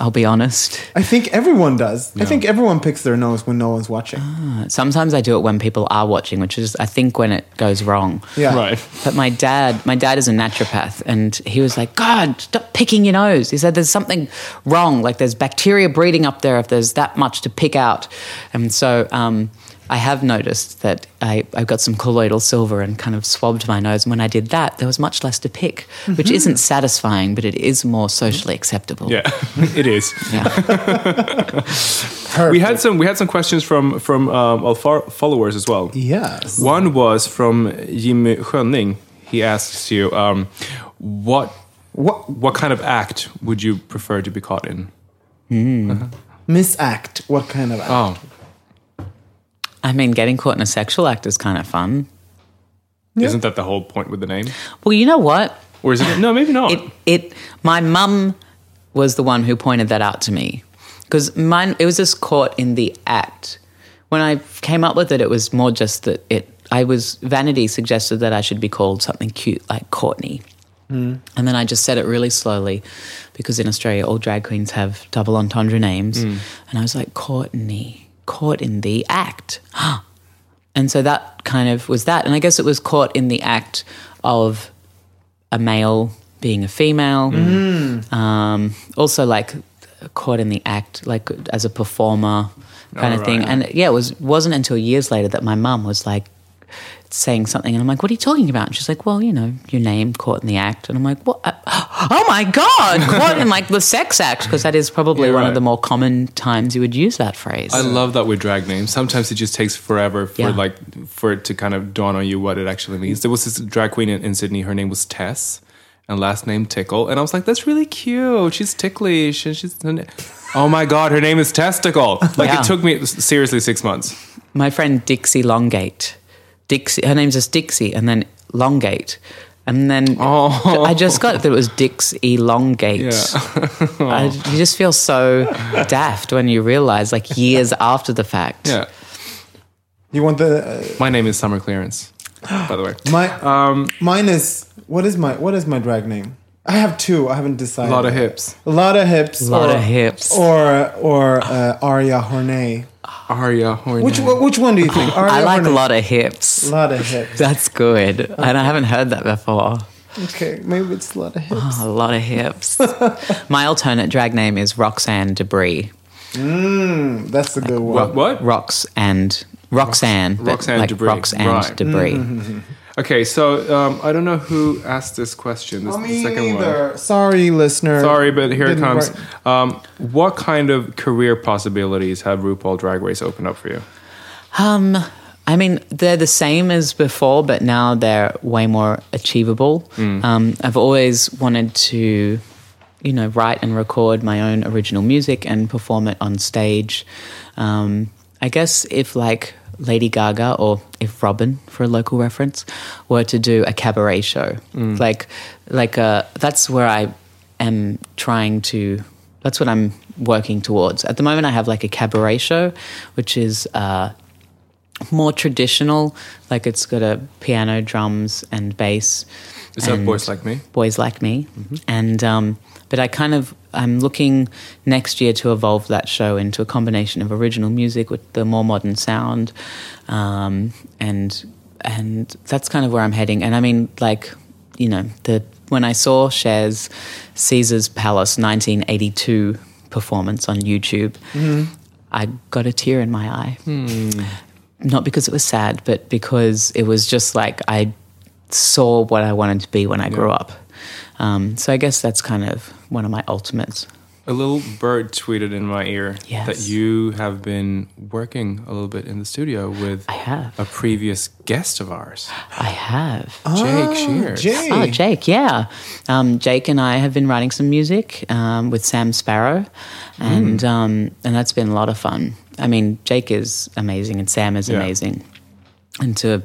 Speaker 3: I'll be honest.
Speaker 1: I think everyone does. I think everyone picks their nose when no one's watching.
Speaker 3: Ah. Sometimes I do it when people are watching, which is I think when it goes wrong.
Speaker 1: Yeah.
Speaker 2: Right.
Speaker 3: But my dad, my dad is a naturopath, and he was like, "God, stop picking your nose." He said, "There's something wrong. Like there's bacteria breeding up there. If there's that much to pick out." And so um, I have noticed that I, I got some colloidal silver and kind of swabbed my nose. And when I did that, there was much less to pick, which isn't satisfying, but it is more socially acceptable.
Speaker 2: Yeah, it is.
Speaker 3: Yeah.
Speaker 2: We had some we had some questions from from um, our fo- followers as well.
Speaker 1: Yes.
Speaker 2: One was from Jimmy Schönning. He asks you, um, what
Speaker 1: What
Speaker 2: what kind of act would you prefer to be caught in?
Speaker 1: misact? What kind of act?
Speaker 2: Oh,
Speaker 3: I mean, getting caught in a sexual act is kind of fun.
Speaker 2: isn't that the whole point with the name?
Speaker 3: Well, you know what?
Speaker 2: Or is it? No, maybe not.
Speaker 3: It it my mum was the one who pointed that out to me because mine it was just caught in the act. When I came up with it, it was more just that it. I was vanity suggested that I should be called something cute like Courtney, and then I just said it really slowly because in Australia all drag queens have double entendre names, and I was like Courtney, caught in the act. And so that kind of was that. And I guess it was caught in the act of a male being a female.
Speaker 2: Mm.
Speaker 3: Um, also, like caught in the act, like as a performer kind of
Speaker 2: Oh,
Speaker 3: thing.
Speaker 2: right.
Speaker 3: And yeah, it was wasn't until years later that my mum was like saying something, and I'm like, "What are you talking about?" And she's like, "Well, you know, your name caught in the act." And I'm like, "What? Oh my god, caught in like the sex act?" Because that is probably
Speaker 2: Yeah,
Speaker 3: one
Speaker 2: right.
Speaker 3: of the more common times you would use that phrase.
Speaker 2: I love that with drag names. Sometimes it just takes forever for
Speaker 3: Yeah.
Speaker 2: like for it to kind of dawn on you what it actually means. There was this drag queen in, in Sydney. Her name was Tess, and last name Tickle. And I was like, that's really cute. She's ticklish, and she's oh my god, her name is Testicle. Like
Speaker 3: Yeah.
Speaker 2: it took me seriously six months.
Speaker 3: my friend Dixie Longate. Dixie, her name's just Dixie, and then Longate. And then
Speaker 2: Oh.
Speaker 3: I just got that it was dicks elongate. I,
Speaker 2: Oh.
Speaker 3: you just feel so daft when you realize, like years after the fact.
Speaker 2: Yeah.
Speaker 1: You want the
Speaker 2: My name is Summer Clearance, by the way.
Speaker 1: uh, my
Speaker 2: Um,
Speaker 1: mine is what is my what is my drag name? I have two. I haven't decided.
Speaker 2: Lotta hips.
Speaker 1: A lot of hips.
Speaker 3: A lot
Speaker 1: or,
Speaker 3: of hips.
Speaker 1: Or or uh, Aria Hornay.
Speaker 2: Aria Hornet.
Speaker 1: Which which one do you think? Aria
Speaker 3: I like a
Speaker 1: Hornay?
Speaker 3: lot of hips.
Speaker 1: Lot of hips.
Speaker 3: That's good. And I haven't heard that before.
Speaker 1: Okay, maybe it's a lot of hips.
Speaker 3: Oh, a lot of hips. My alternate drag name is Roxanne Debris.
Speaker 1: That's a good one.
Speaker 2: What? what?
Speaker 3: Rox and Roxanne. but
Speaker 2: Roxanne
Speaker 3: like
Speaker 2: Debris,
Speaker 3: Roxanne
Speaker 2: right.
Speaker 3: Debris.
Speaker 1: Mm-hmm.
Speaker 2: Okay, so um, I don't know who asked this question. This
Speaker 1: Oh,
Speaker 2: is
Speaker 1: me
Speaker 2: the second
Speaker 1: neither.
Speaker 2: one.
Speaker 1: Sorry, listener.
Speaker 2: Sorry, but here it
Speaker 1: Didn't
Speaker 2: comes.
Speaker 1: work.
Speaker 2: Um, what kind of career possibilities have RuPaul Drag Race opened up for you?
Speaker 3: Um, I mean, they're the same as before, but now they're way more achievable. Um, I've always wanted to, you know, write and record my own original music and perform it on stage. Um, I guess if like Lady Gaga or if Robin, for a local reference, were to do a cabaret show, like, like uh, that's where I am trying to. That's what I'm working towards. At the moment, I have like a cabaret show, which is uh, more traditional. Like it's got a piano, drums, and bass.
Speaker 2: Is that
Speaker 3: and
Speaker 2: Boys Like Me? Mm-hmm.
Speaker 3: Boys like me, and um, but I kind of I'm looking next year to evolve that show into a combination of original music with the more modern sound, um, and and that's kind of where I'm heading. And I mean, like you know, the when I saw Cher's Caesar's Palace 1982 performance on YouTube.
Speaker 2: Mm-hmm.
Speaker 3: I got a tear in my eye not because it was sad, but because it was just like I saw what I wanted to be when I grew up. Um, so I guess that's kind of one of my ultimates.
Speaker 2: A little bird tweeted in my ear
Speaker 3: Yes.
Speaker 2: that you have been working a little bit in the studio with
Speaker 3: I have.
Speaker 2: a previous guest of ours,
Speaker 3: I have.
Speaker 1: Ah,
Speaker 2: Jake Shears.
Speaker 1: Jay.
Speaker 3: Oh, Jake, yeah. Um, Jake and I have been writing some music um, with Sam Sparrow, and um, and that's been a lot of fun. I mean, Jake is amazing, and Sam is
Speaker 2: Yeah.
Speaker 3: amazing. And to,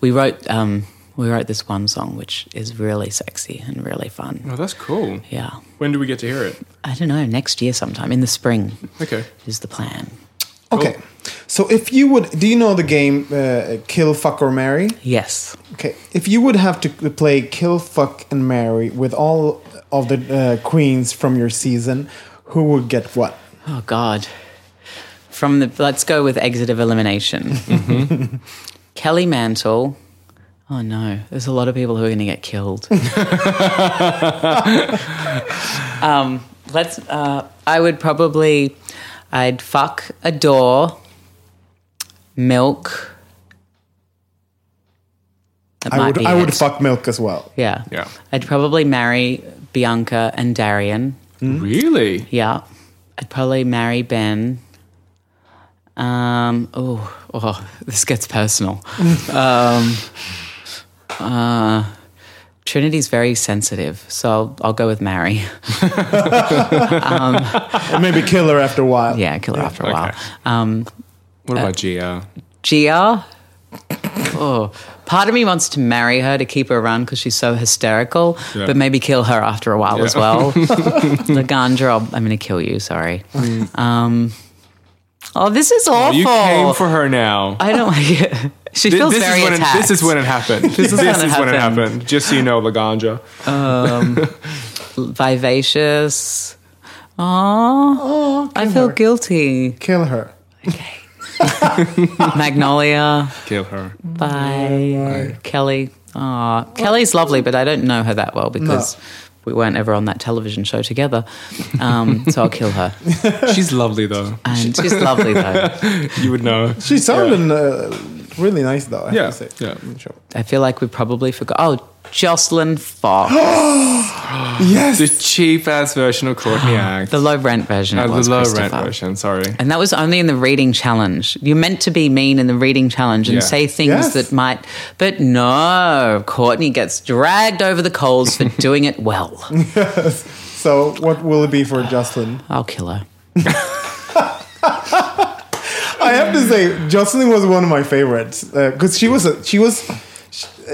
Speaker 3: we wrote um, we wrote this one song, which is really sexy and really fun.
Speaker 2: Oh, that's cool.
Speaker 3: Yeah.
Speaker 2: When do we get to hear it?
Speaker 3: I don't know, next year sometime in the spring
Speaker 2: Okay.
Speaker 3: is the plan.
Speaker 1: Okay. So if you would, do you know the game uh, Kill, Fuck, or Marry?
Speaker 3: Yes.
Speaker 1: Okay. If you would have to play Kill, Fuck, and Marry with all of the uh, queens from your season, who would get what?
Speaker 3: Oh God. From the let's go with exit of elimination.
Speaker 1: Mm-hmm.
Speaker 3: Kelly Mantle. Oh no, there's a lot of people who are going to get killed. um, let's. Uh, I would probably. I'd fuck adore. Milk. That
Speaker 1: I
Speaker 3: might
Speaker 1: would,
Speaker 3: be
Speaker 1: I would
Speaker 3: it.
Speaker 1: fuck Milk as well.
Speaker 3: Yeah.
Speaker 2: Yeah.
Speaker 3: I'd probably marry Bianca and Darian.
Speaker 1: Hmm?
Speaker 2: Really?
Speaker 3: Yeah. I'd probably marry Ben. Um, oh, oh, this gets personal. um, uh, Trinity's very sensitive, so I'll, I'll go with Mary.
Speaker 1: Or maybe kill her after a while.
Speaker 3: Yeah, kill her after a while.
Speaker 2: Okay.
Speaker 3: Um,
Speaker 2: What about Gia?
Speaker 3: Gia. Oh, part of me wants to marry her to keep her around because she's so hysterical,
Speaker 2: Yeah.
Speaker 3: but maybe kill her after a while as
Speaker 2: Yeah.
Speaker 3: well. Lagandra, I'll- I'm going to kill you. Sorry. Um, oh, this is awful.
Speaker 2: Mm. You came for her now.
Speaker 3: I don't. she
Speaker 2: Thi-
Speaker 3: feels
Speaker 2: this
Speaker 3: very
Speaker 2: is when it,
Speaker 3: attacked.
Speaker 2: This is when it happened. this is,
Speaker 3: when it
Speaker 2: when it
Speaker 3: happened.
Speaker 2: happened. Just so you know, Laganja.
Speaker 3: vivacious. Oh, I feel guilty.
Speaker 1: Kill her.
Speaker 3: Magnolia.
Speaker 2: Kill her.
Speaker 3: Bye. Kelly. Oh, Kelly's lovely, but I don't know her that well because we weren't ever on that television show together. Um, so I'll kill her.
Speaker 2: She's lovely though.
Speaker 3: And she's lovely though.
Speaker 2: You would know.
Speaker 1: She sounded uh, really nice though, I
Speaker 2: Yeah,
Speaker 1: have to say.
Speaker 2: yeah.
Speaker 1: Sure.
Speaker 3: I feel like we probably forgot. Oh, Jocelyn Fox,
Speaker 1: Yes.
Speaker 2: The cheap ass version of Courtney Act.
Speaker 3: the low rent version.
Speaker 2: Uh,
Speaker 3: it
Speaker 2: the
Speaker 3: was,
Speaker 2: low rent
Speaker 3: Christopher.
Speaker 2: version. Sorry.
Speaker 3: And that was only in the reading challenge. You're meant to be mean in the reading challenge and
Speaker 2: Yeah.
Speaker 3: say things
Speaker 1: Yes.
Speaker 3: that might, but no, Courtney gets dragged over the coals for doing it well.
Speaker 1: So what will it be for Jocelyn?
Speaker 3: I'll kill her.
Speaker 1: uh, I have to say, Jocelyn was one of my favorites because she was a, she was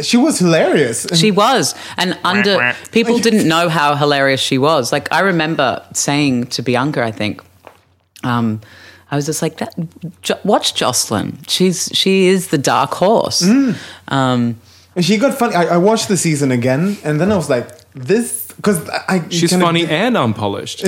Speaker 1: she was hilarious.
Speaker 3: She was. And under people didn't know how hilarious she was. Like I remember saying to Bianca, I think, um, I was just like, that, jo- watch Jocelyn. She's she is the dark horse. Um,
Speaker 1: And she got funny. I, I watched the season again, and then I was like, this because I, I
Speaker 2: She's
Speaker 1: kind of-
Speaker 2: funny and unpolished.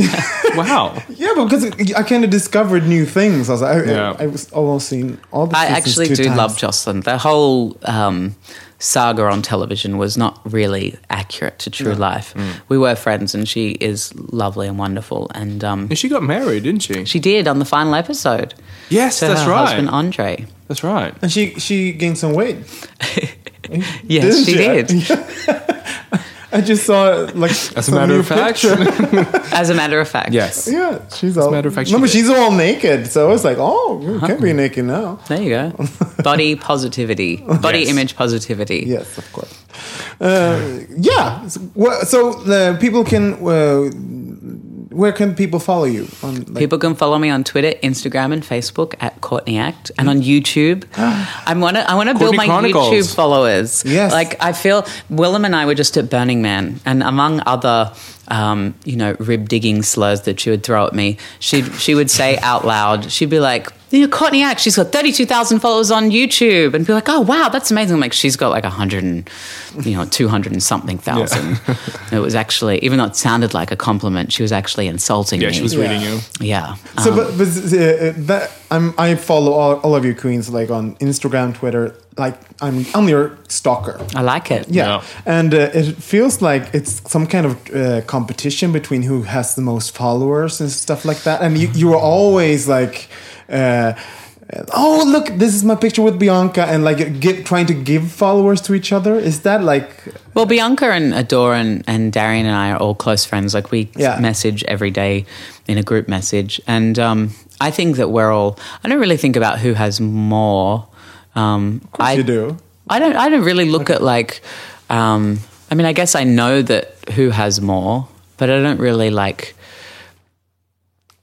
Speaker 2: wow.
Speaker 1: Yeah, but because I kind of discovered new things. I was like, I,
Speaker 2: Yeah.
Speaker 1: I, was almost seen all the.
Speaker 3: I
Speaker 1: seasons
Speaker 3: actually
Speaker 1: two
Speaker 3: do
Speaker 1: times.
Speaker 3: love Jocelyn. The whole um, saga on television was not really accurate to true life. We were friends, and she is lovely and wonderful. And um,
Speaker 2: And she got married, didn't she?
Speaker 3: she did on the final episode.
Speaker 2: Yes,
Speaker 3: to
Speaker 2: that's
Speaker 3: her
Speaker 2: right.
Speaker 3: Husband Andre.
Speaker 2: That's right.
Speaker 1: And she she gained some weight.
Speaker 3: Yes, she
Speaker 1: Didn't
Speaker 3: did.
Speaker 1: I just saw like
Speaker 2: As a
Speaker 1: some
Speaker 2: matter
Speaker 1: new
Speaker 2: of fact.
Speaker 1: picture.
Speaker 3: As a matter of fact,
Speaker 2: yes.
Speaker 1: yeah, she's all.
Speaker 2: matter of fact, she
Speaker 1: no, but
Speaker 2: did.
Speaker 1: she's all naked. So it's like, oh, you can't be naked now.
Speaker 3: There you go. Body positivity, body
Speaker 2: Yes.
Speaker 3: image positivity.
Speaker 1: Yes, of course. Uh, yeah. So, well, so the people can. Uh, where can people follow you? On like,
Speaker 3: People can follow me on Twitter, Instagram, and Facebook at Courtney Act, and on YouTube. I want to. I want to build
Speaker 2: Ah. Courtney
Speaker 3: my
Speaker 2: Chronicles.
Speaker 3: YouTube followers.
Speaker 1: Yes.
Speaker 3: like I feel Willem and I were just at Burning Man, and among other, um, you know, rib digging slurs that she would throw at me, she she would say out loud. She'd be like. You know, Courtney Act, she's got 32,000 followers on YouTube. And be like, oh, wow, that's amazing. I'm like, she's got like 100 and, you know, 200 and something thousand. it was actually, even though it sounded like a compliment, she was actually insulting
Speaker 2: Yeah,
Speaker 3: me.
Speaker 2: she was reading you.
Speaker 3: Yeah.
Speaker 1: So,
Speaker 3: Um,
Speaker 1: but, but uh, that I'm, I follow all, all of you queens like on Instagram, Twitter. Like I'm, I'm your stalker.
Speaker 3: I like it.
Speaker 1: Yeah, and uh, it feels like it's some kind of uh, competition between who has the most followers and stuff like that. And you, you were always like. Uh, Oh look! This is my picture with Bianca, and like give, trying to give followers to each other. Is that like
Speaker 3: Well, Bianca and Adora and, and Darian and I are all close friends. Like we
Speaker 1: Yeah.
Speaker 3: message every day in a group message. And um, I think that we're all, I don't really think about who has more. Um, of course I,
Speaker 1: you do?
Speaker 3: I don't, I don't really look at like, um, I mean, I guess I know that who has more, but I don't really like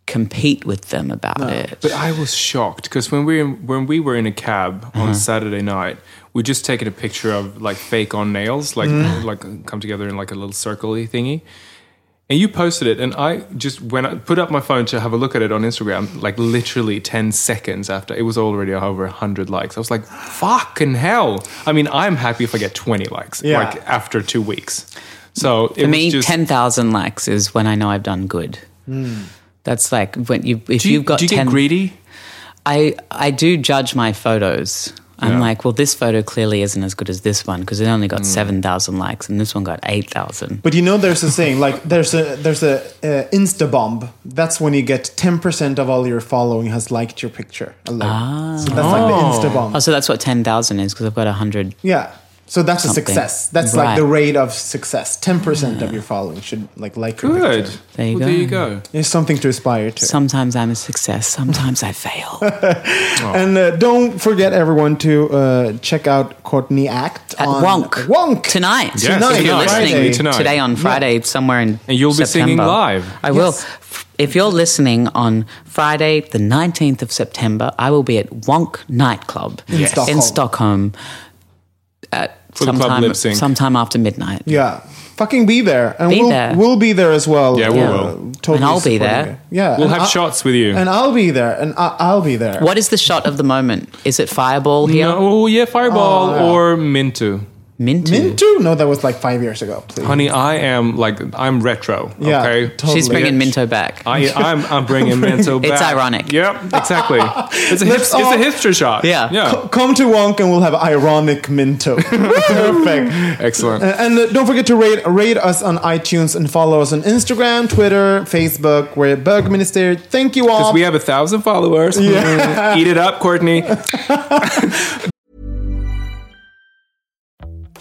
Speaker 3: compete with them about it.
Speaker 2: But I was shocked because when we when we were in a cab on Saturday night, we just taken a picture of like fake on nails, like like come together in like a little circly thingy. And you posted it, and I just when I put up my phone to have a look at it on Instagram, like literally ten seconds after, it was already over hundred likes. I was like, "Fucking hell!" I mean, I'm happy if I get twenty likes,
Speaker 1: Yeah.
Speaker 2: like after two weeks. So it
Speaker 3: For
Speaker 2: was
Speaker 3: me,
Speaker 2: just, Hmm.
Speaker 3: ten thousand likes is when I know I've done good. That's like when you if
Speaker 2: Do you,
Speaker 3: have got
Speaker 2: do you
Speaker 3: 10,
Speaker 2: get greedy?
Speaker 3: I I do judge my photos. I'm
Speaker 2: Yeah. Hmm.
Speaker 3: like, well, this photo clearly isn't as good as this one because it only got seven thousand likes and this one got eight thousand.
Speaker 1: But you know, there's a saying like there's a there's a uh, Insta bomb. That's when you get ten percent of all your following has liked your picture. Alone. So that's like the Insta bomb.
Speaker 3: Oh, so that's what ten thousand is because I've got hundred.
Speaker 1: Yeah. So that's
Speaker 3: Something.
Speaker 1: a success. That's like
Speaker 3: Right.
Speaker 1: the rate of success. Ten percent of your following should like like your
Speaker 2: Good.
Speaker 1: picture.
Speaker 3: There you
Speaker 2: Well,
Speaker 3: go.
Speaker 2: There you go.
Speaker 1: It's something to aspire to.
Speaker 3: Sometimes I'm a success. Sometimes I fail.
Speaker 1: and uh, don't forget everyone to uh, check out Courtney Act
Speaker 3: At
Speaker 1: on
Speaker 3: Wonk.
Speaker 1: Wonk
Speaker 3: Tonight,
Speaker 2: Yes,
Speaker 3: if you're
Speaker 1: tonight.
Speaker 3: listening
Speaker 1: Friday.
Speaker 3: tonight.
Speaker 2: Tonight.
Speaker 3: today on Friday, somewhere in
Speaker 2: And you'll be singing
Speaker 3: September.
Speaker 2: live.
Speaker 3: I will.
Speaker 1: Yes.
Speaker 3: If you're listening on Friday, the 19th of September, I will be at Wonk Nightclub
Speaker 1: In Yes. Stockholm.
Speaker 3: in Stockholm at
Speaker 2: the club
Speaker 3: sometime,
Speaker 2: lip sync.
Speaker 3: sometime after midnight.
Speaker 1: Yeah. Fucking be there, and
Speaker 3: Be
Speaker 1: we'll
Speaker 3: there.
Speaker 1: we'll be there as well.
Speaker 2: Yeah, we
Speaker 1: Uh,
Speaker 2: will.
Speaker 1: Totally
Speaker 3: And I'll be
Speaker 1: supporting
Speaker 3: there.
Speaker 1: you. Yeah,
Speaker 2: We'll
Speaker 1: and
Speaker 2: have
Speaker 1: I'll-
Speaker 2: shots with you.
Speaker 1: and I'll be there, and I- I'll be there.
Speaker 3: What is the shot of the moment? Is it Fireball here?
Speaker 2: No, oh yeah, Fireball or Mintu.
Speaker 3: Mintu.
Speaker 1: Mintu? No, that was like five years ago. Please.
Speaker 2: Honey, I am like I'm retro.
Speaker 1: Yeah,
Speaker 2: okay,
Speaker 1: totally.
Speaker 3: She's bringing
Speaker 2: Yeah.
Speaker 3: Minto back.
Speaker 2: I, I'm I'm bringing Minto back.
Speaker 3: It's ironic.
Speaker 2: Yep, exactly. It's a, hip, it's
Speaker 1: Let's
Speaker 2: a
Speaker 1: all-
Speaker 2: hipster shot.
Speaker 3: Yeah.
Speaker 2: yeah,
Speaker 1: Come to Wonk, and we'll have ironic Minto. Perfect.
Speaker 2: excellent.
Speaker 1: Uh, And uh, don't forget to rate, rate us on iTunes and follow us on Instagram, Twitter, Facebook. We're at Berg Minister. Thank you all.
Speaker 2: Because we have a thousand followers. Eat it up, Courtney.